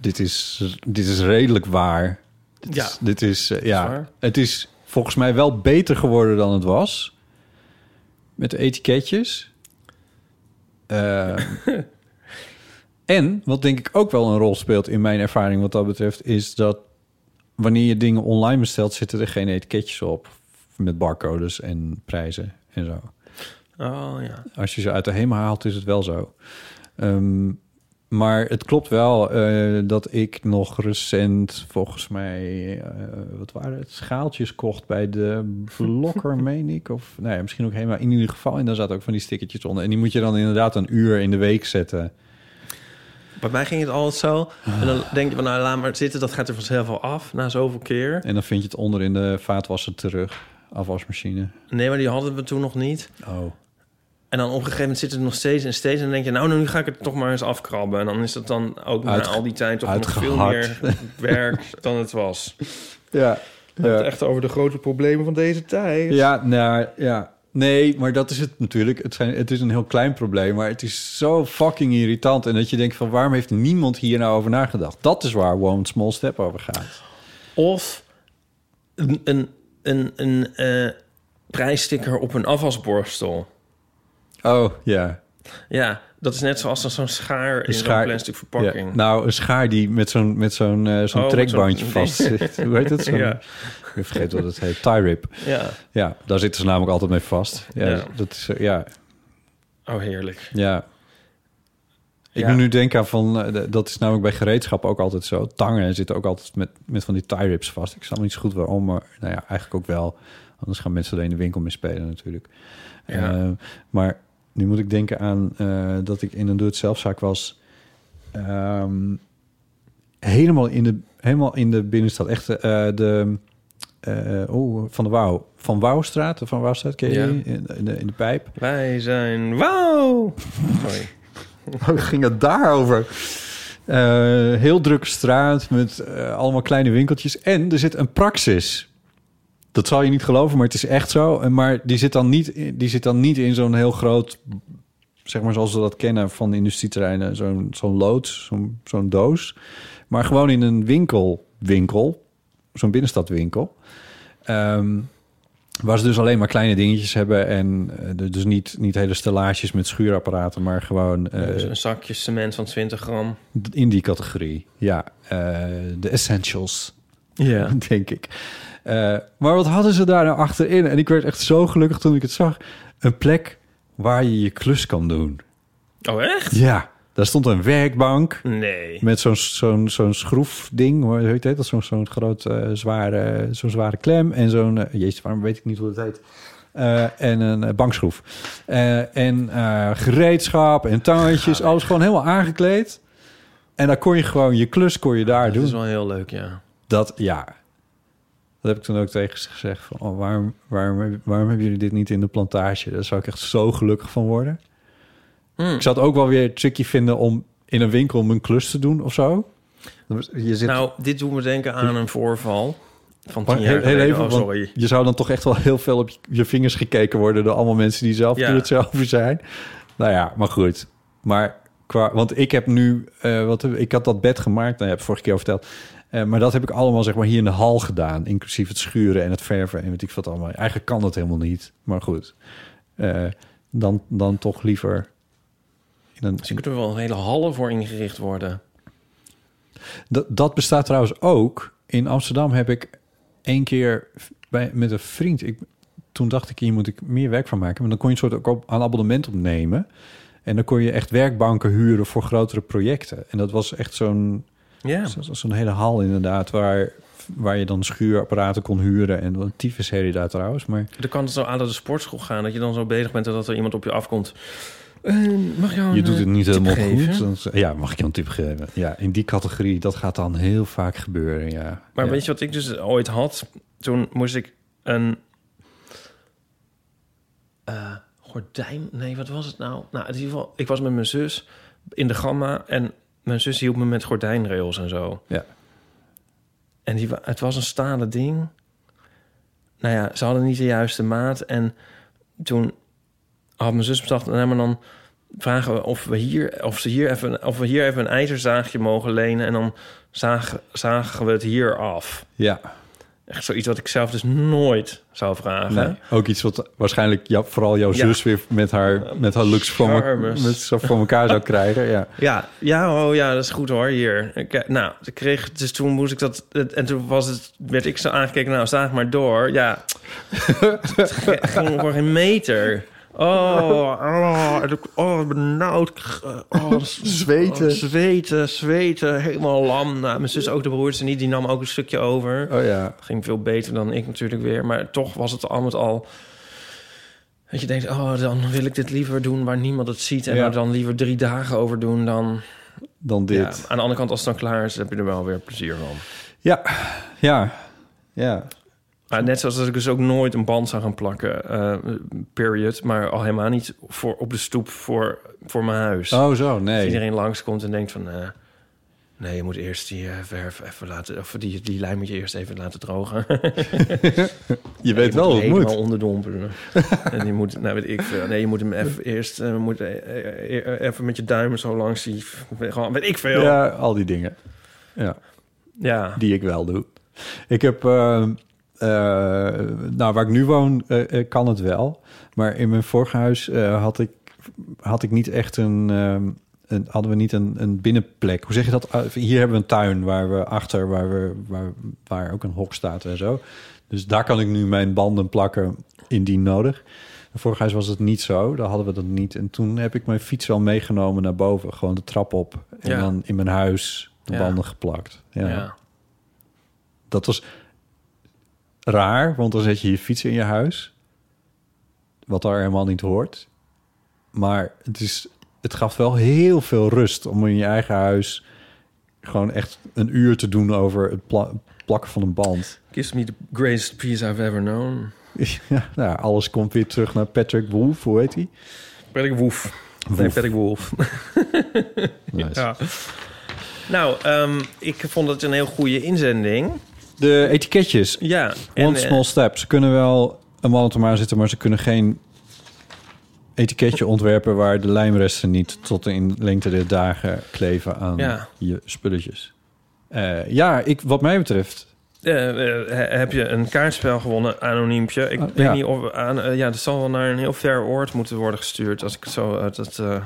S2: dit is, dit is redelijk waar. Dit
S3: Ja.
S2: Is, dit is, eh, ja.
S3: waar.
S2: Het is volgens mij wel beter geworden dan het was. Met de etiketjes. Eh, en wat denk ik ook wel een rol speelt in mijn ervaring wat dat betreft, is dat wanneer je dingen online bestelt, zitten er geen etiketjes op. Met barcodes en prijzen en zo.
S3: Oh ja.
S2: Als je ze uit de hemel haalt, is het wel zo. Ehm, maar het klopt wel eh, dat ik nog recent, volgens mij, eh, wat waren het? Schaaltjes kocht bij de blokker, meen ik. Of nou ja, misschien ook helemaal in ieder geval. En daar zaten ook van die stickertjes onder. En die moet je dan inderdaad een uur in de week zetten.
S3: Bij mij ging het altijd zo. En dan denk je van, nou laat maar zitten, dat gaat er vanzelf wel af. Na zoveel keer.
S2: En dan vind je het onder in de vaatwasser terug. Afwasmachine.
S3: Nee, maar die hadden we toen nog niet.
S2: Oh.
S3: En dan op een gegeven moment zit het nog steeds en steeds. En dan denk je, nou, nu ga ik het toch maar eens afkrabben. En dan is dat dan ook
S2: Uitge-
S3: na al die tijd toch nog
S2: uitgehakt.
S3: veel meer werk dan het was.
S2: Ja.
S3: Het
S2: Ja.
S3: echt over de grote problemen van deze tijd.
S2: Ja, nou, ja. Nee, maar dat is het natuurlijk. Het, zijn, het is een heel klein probleem, maar het is zo fucking irritant. En dat je denkt van, waarom heeft niemand hier nou over nagedacht? Dat is waar One Small Step over gaat.
S3: Of een, een, een, een eh, prijssticker op een afwasborstel.
S2: Oh, ja.
S3: Ja, dat is net zoals dan zo'n schaar in zo'n
S2: schaar-
S3: plastic verpakking.
S2: Ja, nou, een schaar die met zo'n met zo'n eh, zo'n
S3: Oh, met
S2: trekbandje
S3: zo'n-
S2: vast zit. Hoe heet dat? Zo'n-
S3: Ja.
S2: Ik vergeet wat het heet. Tie rip.
S3: ja.
S2: Ja, daar zitten ze namelijk altijd mee vast. Ja,
S3: Ja.
S2: Dat is, eh, ja,
S3: Oh, heerlijk.
S2: ja. Ik
S3: Ja.
S2: moet nu denken aan van... eh, d- dat is namelijk bij gereedschap ook altijd zo. Tangen zitten ook altijd met, met van die tie rips vast. Ik snap niet zo goed waarom, maar nou ja, eigenlijk ook wel. Anders gaan mensen er in de winkel mee spelen natuurlijk.
S3: Ja.
S2: Eh, maar nu moet ik denken aan eh, dat ik in een doe-het-zelfzaak was... Ehm, helemaal, in de, helemaal in de binnenstad. Echt eh, de... eh, oh, van de Wouw. Van Wouwstraat, van Wouwstraat, ken je
S3: Ja.
S2: die? In, in de, in de pijp.
S3: Wij zijn... Wauw!
S2: Eh.
S3: Sorry.
S2: Hoe ging het daarover? Eh, heel drukke straat met eh, allemaal kleine winkeltjes. En er zit een praxis. Dat zal je niet geloven, maar het is echt zo. En Maar die zit dan niet, in- die zit dan niet in zo'n heel groot... zeg maar zoals we dat kennen van industrieterreinen. Zo'n zo'n loods, zo'n zo'n doos. Maar gewoon in een winkel, winkel. Zo'n binnenstadwinkel. Ehm, Waar ze dus alleen maar kleine dingetjes hebben. En eh, dus niet, niet hele stellages met schuurapparaten, maar gewoon... eh,
S3: Dus een zakje cement van 20 gram.
S2: in die categorie, ja. eh, De essentials,
S3: Ja.
S2: denk ik. Eh, maar wat hadden ze daar nou achterin? En ik werd echt zo gelukkig toen ik het zag. Een plek waar je je klus kan doen.
S3: Oh, echt?
S2: Ja, daar stond een werkbank
S3: Nee.
S2: met zo'n zo'n zo'n schroefding. Hoe heet dat? Zo'n zo'n groot, eh, zware, zo'n zware klem en zo'n... eh, jezus, waarom weet ik niet hoe dat heet? Eh, en een eh, bankschroef. Eh, en eh, gereedschap en tangetjes. Alles gewoon helemaal aangekleed. En dan kon je gewoon je klus kon je daar
S3: Dat
S2: doen.
S3: is wel heel leuk, ja.
S2: Dat ja. Dat heb ik toen ook tegen ze gezegd. Van, oh, waarom, waarom, waarom hebben jullie dit niet in de plantage? Daar zou ik echt zo gelukkig van worden.
S3: Hmm.
S2: Ik zou het ook wel weer tricky vinden om in een winkel mijn klus te doen of zo. Je zit
S3: Nou, dit doet me denken aan een voorval van
S2: Maar
S3: tien jaar
S2: heel, heel
S3: geleden.
S2: even,
S3: oh,
S2: want
S3: sorry.
S2: je zou dan toch echt wel heel veel op je, je vingers gekeken worden door allemaal mensen die zelf
S3: Ja.
S2: doe hetzelfde zijn. Nou ja, maar goed. Maar qua, want ik heb nu, eh, wat, ik had dat bed gemaakt, nou, heb ik vorige keer al verteld. Eh, maar dat heb ik allemaal zeg maar hier in de hal gedaan, inclusief het schuren en het verven en weet ik wat allemaal. Eigenlijk kan dat helemaal niet, maar goed. Eh, dan, dan toch liever. In een,
S3: Dus je kunt er wel een hele hallen voor ingericht worden.
S2: Dat, dat bestaat trouwens ook. In Amsterdam heb ik één keer bij, met een vriend... Ik, toen dacht ik, hier moet ik meer werk van maken. Maar dan kon je een soort ook op, aan abonnement opnemen. En dan kon je echt werkbanken huren voor grotere projecten. En dat was echt zo'n
S3: Ja.
S2: zo- zo- zo'n hele hal inderdaad... Waar, waar je dan schuurapparaten kon huren. En wat een tyfusherrie daar trouwens. Maar
S3: Dan kan het zo aan de sportschool gaan dat je dan zo bezig bent en dat er iemand op je afkomt. Eh, mag jou
S2: je
S3: een,
S2: doet
S3: eh,
S2: het niet
S3: tip
S2: helemaal
S3: geven?
S2: goed. Dan z- ja, mag ik je een tip geven? Ja, in die categorie, dat gaat dan heel vaak gebeuren, ja.
S3: Maar
S2: ja.
S3: weet je wat ik dus ooit had? Toen moest ik een eh, gordijn. Nee, wat was het nou? Nou, in ieder geval, ik was met mijn zus in de gamma en mijn zus hielp me met gordijnrails en zo.
S2: Ja.
S3: En die, wa- het was een stalen ding. Nou ja, ze hadden niet de juiste maat. En toen had mijn zus bedacht, nou, maar dan vragen we of we hier, of ze hier even, of we hier even een ijzerzaagje mogen lenen. En dan zagen, zagen we het hier af.
S2: Ja.
S3: Echt zoiets wat ik zelf dus nooit zou vragen.
S2: Nee, ook iets wat waarschijnlijk jou- vooral jouw
S3: Ja.
S2: zus weer met haar, met haar looks voor, me-
S3: Charmers.
S2: met, zo voor elkaar zou krijgen. Ja.
S3: Ja, ja, oh ja, dat is goed hoor, hier. Ik, nou, ik kreeg, dus toen moest ik dat... het- En toen was het, werd ik zo aangekeken, nou, zaag maar door. Ja, het ge- ging voor geen meter. Oh, oh, en ik- oh, benauwd. Oh, zweten. zweten, zweten, helemaal lam. Nou, mijn zus ook de broertje niet, die nam ook een stukje over.
S2: Oh ja.
S3: ging veel beter dan ik natuurlijk weer. Maar toch was het al met al... Dat je denkt, oh, dan wil ik dit liever doen waar niemand het ziet. En
S2: Ja.
S3: er dan liever drie dagen over doen dan...
S2: Dan
S3: Ja,
S2: dit.
S3: aan de andere kant, als het dan klaar is, heb je er wel weer plezier van.
S2: Ja. Ja. Ja.
S3: Maar net zoals dat ik dus ook nooit een band zou gaan plakken, eh, period. Maar al helemaal niet voor, op de stoep voor, voor mijn huis.
S2: Oh, zo,
S3: Als
S2: nee.
S3: iedereen langskomt en denkt van... eh, nee, je moet eerst die eh, verf even laten... Of die, die lijm moet je eerst even laten drogen.
S2: Je weet wel hoe
S3: hoe
S2: het
S3: helemaal
S2: moet.
S3: onderdompelen. en je moet, nou weet ik veel. Nee, je moet hem even eerst... eh, moet, eh, eh, eh, even met je duimen zo langs die... Gewoon, weet ik veel.
S2: Ja, al die dingen. Ja.
S3: ja.
S2: die ik wel doe. Ik heb, eh, eh, nou waar ik nu woon, eh, eh, kan het wel. Maar in mijn vorige huis eh, had, ik, had ik niet echt een, ehm, een hadden we niet een, een binnenplek. Hoe zeg je dat? Ah, Hier hebben we een tuin waar we achter, waar, we, waar, waar ook een hok staat en zo. Dus daar kan ik nu mijn banden plakken indien nodig. En Vorig huis was het niet zo, daar hadden we dat niet. En toen heb ik mijn fiets wel meegenomen naar boven, gewoon de trap op. En
S3: Ja.
S2: dan in mijn huis de
S3: Ja.
S2: banden geplakt. ja.
S3: ja.
S2: Dat was raar, want dan zet je je fiets in je huis. Wat daar helemaal niet hoort. Maar het, is, het gaf wel heel veel rust om in je eigen huis gewoon echt een uur te doen over het pla- plakken van een band.
S3: Gives me the greatest peace I've ever known.
S2: Ja, nou, alles komt weer terug naar Patrick Wolf, hoe heet hij?
S3: Patrick Woef. Nee, Patrick Wolf.
S2: Nice.
S3: Ja. Nou, ehm, ik vond het een heel goede inzending.
S2: De etiketjes,
S3: Ja.
S2: One
S3: eh,
S2: small step. Ze kunnen wel een mannentomaar zitten, maar ze kunnen geen etiketje ontwerpen waar de lijmresten niet tot in lengte der dagen kleven aan
S3: Ja.
S2: je spulletjes. Eh, ja, ik, wat mij betreft.
S3: eh, eh, he- heb je een kaartspel gewonnen, anoniempje. Ik
S2: Ah,
S3: weet
S2: ja.
S3: niet of... Aan, eh, ja, dat zal wel naar een heel ver oord moeten worden gestuurd... als ik zo eh, dat, eh,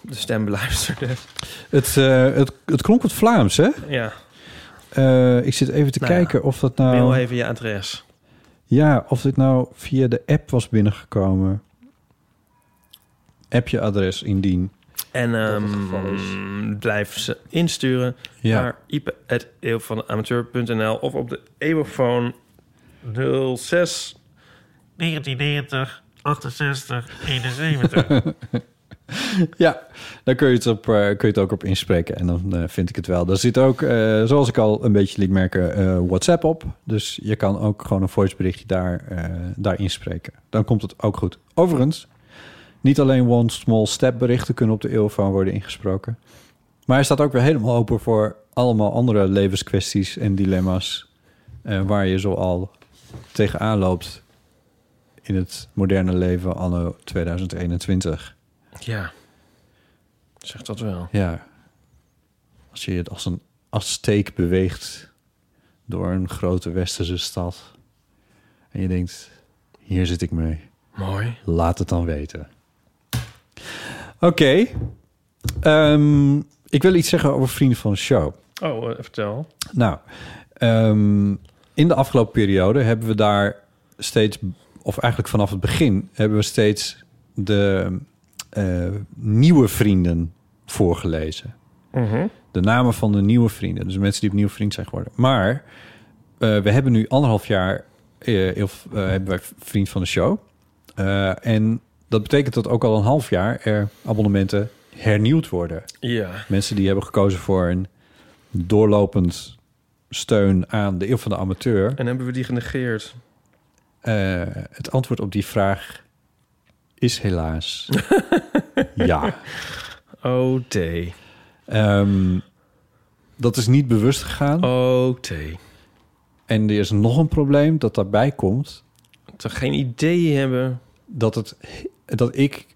S3: de stem beluisterde.
S2: Het, eh, het, het klonk wat Vlaams, hè?
S3: ja,
S2: Eh, ik zit even te
S3: Nou ja,
S2: kijken of dat nou.
S3: mail even je adres.
S2: Ja, of dit nou via de app was binnengekomen. App je adres indien.
S3: En
S2: het geval
S3: ehm, blijf ze insturen
S2: Ja.
S3: naar ipe.eeuwvanamateur.nl... of op de eeuwfoon 06...
S7: 1990, 68, 71.
S2: Ja, daar kun je, het op, eh, kun je het ook op inspreken. En dan eh, vind ik het wel. Daar zit ook, eh, zoals ik al een beetje liet merken, eh, WhatsApp op. Dus je kan ook gewoon een voiceberichtje daar, eh, daar inspreken. Dan komt het ook goed. Overigens, niet alleen One Small Step berichten kunnen op de eeuwfoon worden ingesproken. Maar hij staat ook weer helemaal open voor allemaal andere levenskwesties en dilemma's... eh, waar je zoal tegenaan loopt in het moderne leven anno 2021.
S3: Ja, zeg dat wel.
S2: Ja. Als je het als een Azteek beweegt door een grote westerse stad. En je denkt, hier zit ik mee.
S3: Mooi.
S2: Laat het dan weten. Oké. Ehm, ik wil iets zeggen over vrienden van de show.
S3: Oh, eh, vertel.
S2: Nou, ehm, in de afgelopen periode hebben we daar steeds, of eigenlijk vanaf het begin, hebben we steeds de eh, nieuwe vrienden voorgelezen. De namen van de nieuwe vrienden. Dus mensen die opnieuw vriend zijn geworden. Maar eh, we hebben nu anderhalf jaar eh, of, eh, hebben wij vriend van de show. Eh, en dat betekent dat ook al een half jaar er abonnementen hernieuwd worden.
S3: Ja.
S2: Mensen die hebben gekozen voor een doorlopend steun aan de eeuw van de amateur.
S3: En hebben we die genegeerd?
S2: Eh, het antwoord op die vraag is helaas ja.
S3: OT.
S2: Ehm, dat is niet bewust gegaan.
S3: Oh. OT.
S2: En er is nog een probleem dat daarbij komt.
S3: Te geen idee hebben.
S2: Dat, het, dat ik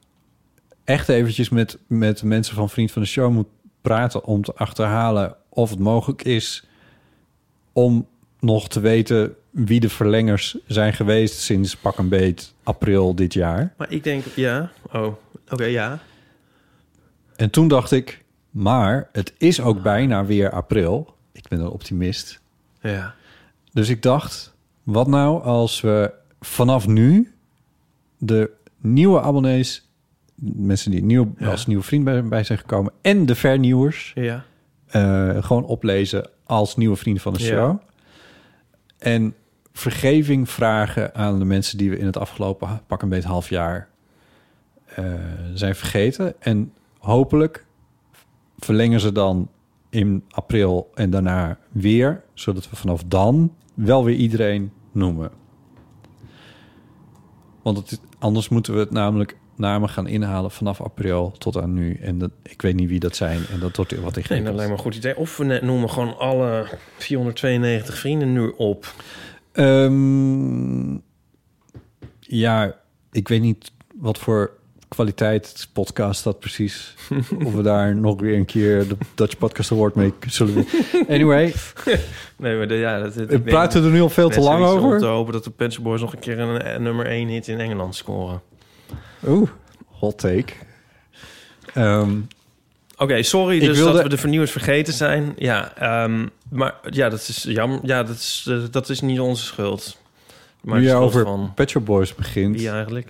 S2: echt eventjes met, met mensen van Vriend van de Show moet praten... om te achterhalen of het mogelijk is om nog te weten... wie de verlengers zijn geweest sinds pak een beet april dit jaar.
S3: Maar ik denk, ja. Oh, oké, ja.
S2: En toen dacht ik, maar het is ook bijna weer april. Ik ben een optimist.
S3: Ja.
S2: Dus ik dacht, wat nou als we vanaf nu de nieuwe abonnees, mensen die nieuw, als nieuwe vriend bij, bij zijn gekomen, en de vernieuwers
S3: Ja.
S2: eh, gewoon oplezen als nieuwe vriend van de
S3: Ja.
S2: show. En vergeving vragen aan de mensen die we in het afgelopen ha- pak een beetje half jaar eh, zijn vergeten. En hopelijk verlengen ze dan in april en daarna weer, zodat we vanaf dan wel weer iedereen noemen. Want het is- anders moeten we het namelijk namen gaan inhalen vanaf april tot aan nu. En dat, ik weet niet wie dat zijn. En dat wordt wat
S3: Nee,
S2: ingewikkeld.
S3: dat lijkt me een goed idee. Of we ne- noemen gewoon alle 492 vrienden nu op.
S2: Ehm, ja, ik weet niet wat voor kwaliteit podcast dat precies. of we daar nog weer een keer de Dutch Podcast Award mee zullen winnen. Anyway,
S3: Nee, maar de- ja, dat, dat-
S2: we
S3: ik denk-
S2: praten er nu al veel te
S3: net
S2: lang
S3: zoiets Om te
S2: over.
S3: hopen dat de Pet Shop Boys nog een keer een, een nummer 1 hit in Engeland scoren.
S2: Oeh, hot take. Ehm,
S3: Oké, sorry
S2: Ik
S3: dus
S2: wilde-
S3: dat we de vernieuwers vergeten zijn. Ja, ehm, maar ja, dat is jammer. Ja, dat is, eh, dat is niet onze schuld. Maar
S2: nu
S3: de
S2: je
S3: schuld
S2: over
S3: van
S2: Pet Shop Boys begint.
S3: wie eigenlijk?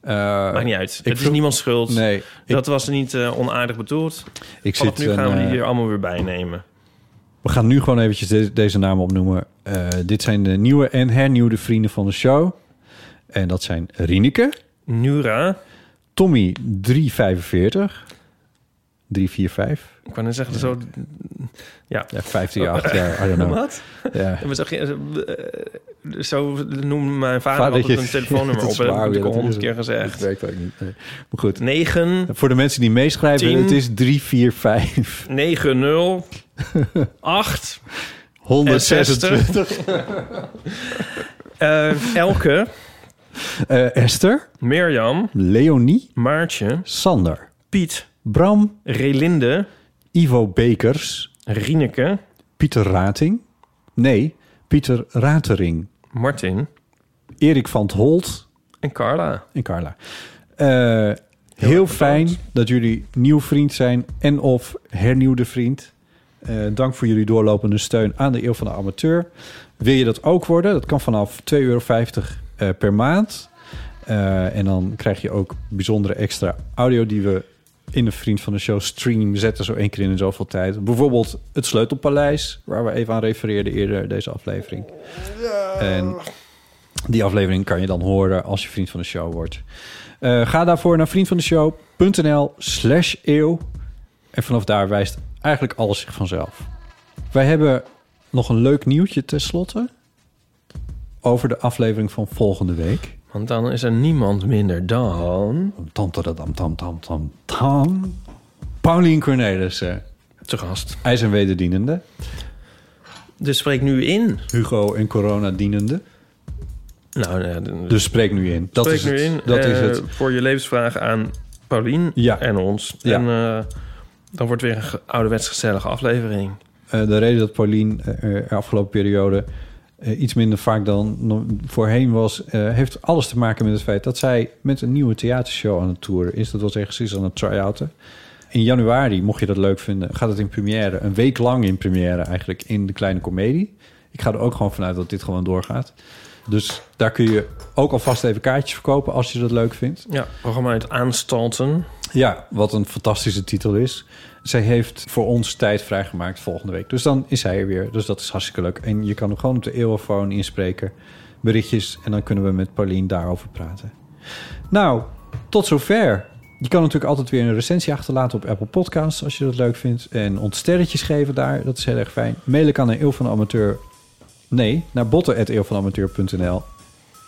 S2: eh,
S3: Maakt niet uit. Het is
S2: vroeg-
S3: niemands schuld.
S2: Nee, ik,
S3: dat was niet eh, onaardig bedoeld.
S2: ik
S3: Vanaf
S2: zit
S3: nu gaan
S2: een,
S3: we
S2: eh,
S3: die hier allemaal weer bij nemen.
S2: We gaan nu gewoon eventjes de- deze namen opnoemen. Eh, dit zijn de nieuwe en hernieuwde vrienden van de show. En dat zijn Rieneke,
S3: Nura,
S2: Tommy 345, 345,
S3: ik kan net zeggen, zo... Ja.
S2: ja, 158 jaar, I don't know.
S3: Wat?
S2: Ja.
S3: We zeggen, eh, eh, Zo noemde mijn vader,
S2: Vader,
S3: altijd
S2: je-
S3: een telefoonnummer
S2: dat
S3: op.
S2: is
S3: en Dat
S2: waar,
S3: heb ik
S2: ja,
S3: al
S2: dat
S3: honderd
S2: is
S3: keer
S2: het.
S3: gezegd.
S2: Dat werkt ook niet. nee. Maar goed,
S3: 9,
S2: voor de mensen die meeschrijven,
S3: Tien.
S2: het is 345,
S3: 9, 0, 8,
S2: 126.
S3: 60. Eh, Elke,
S2: Eh, Esther,
S3: Mirjam,
S2: Leonie,
S3: Maartje,
S2: Sander,
S3: Piet,
S2: Bram,
S3: Relinde,
S2: Ivo Bekers,
S3: Rieneke,
S2: Pieter Rating. Nee, Pieter Ratering,
S3: Martin
S2: Erik van het Holt,
S3: en Carla.
S2: En Carla. Eh, heel fijn dat jullie nieuw vriend zijn en of hernieuwde vriend. Eh, dank voor jullie doorlopende steun aan de Eeuw van de Amateur. Wil je dat ook worden? Dat kan vanaf 2,50 euro eh, per maand. Eh, en dan krijg je ook bijzondere extra audio die we in de Vriend van de Show stream zetten. Zo één keer in de zoveel tijd. Bijvoorbeeld het Sleutelpaleis, waar we even aan refereerden eerder deze aflevering. En die aflevering kan je dan horen als je vriend van de show wordt. Eh, ga daarvoor naar vriendvandeshow.nl slash eeuw. En vanaf daar wijst eigenlijk alles zich vanzelf. Wij hebben nog een leuk nieuwtje tenslotte. Over de aflevering van volgende week.
S3: Want dan is er niemand minder dan...
S2: Tam, tadadam, tam, tam, tam, tam. Paulien Cornelissen.
S3: Te gast.
S2: IJs- en wederdienende.
S3: Dus spreek nu in.
S2: Hugo en corona dienende.
S3: Nou, eh, d-
S2: Dus spreek nu in. Dat
S3: spreek
S2: is
S3: nu
S2: het.
S3: in.
S2: Dat
S3: eh,
S2: is het.
S3: Voor je levensvraag aan Paulien
S2: Ja.
S3: en ons.
S2: Ja.
S3: En eh, dan wordt weer een ge- ouderwets gezellige aflevering.
S2: Eh, de reden dat Paulien eh, er afgelopen periode eh, iets minder vaak dan no- voorheen was, eh, heeft alles te maken met het feit dat zij met een nieuwe theatershow aan het toeren is. Dat was echt precies aan het try-outen. In januari, mocht je dat leuk vinden, gaat het in première. Een week lang in première eigenlijk in de kleine komedie. Ik ga er ook gewoon vanuit dat dit gewoon doorgaat. Dus daar kun je ook alvast even kaartjes verkopen als je dat leuk vindt.
S3: Ja, programma uit Aanstalten.
S2: Ja, wat een fantastische titel is. Zij heeft voor ons tijd vrijgemaakt volgende week. Dus dan is zij er weer. Dus dat is hartstikke leuk. En je kan hem gewoon op de eeuwofoon inspreken. Berichtjes. En dan kunnen we met Paulien daarover praten. Nou, tot zover. Je kan natuurlijk altijd weer een recensie achterlaten op Apple Podcasts... als je dat leuk vindt. En ons sterretjes geven daar. Dat is heel erg fijn. Mailen kan naar eeuw van de amateur... Nee, naar botten.eeuwvanamateur.nl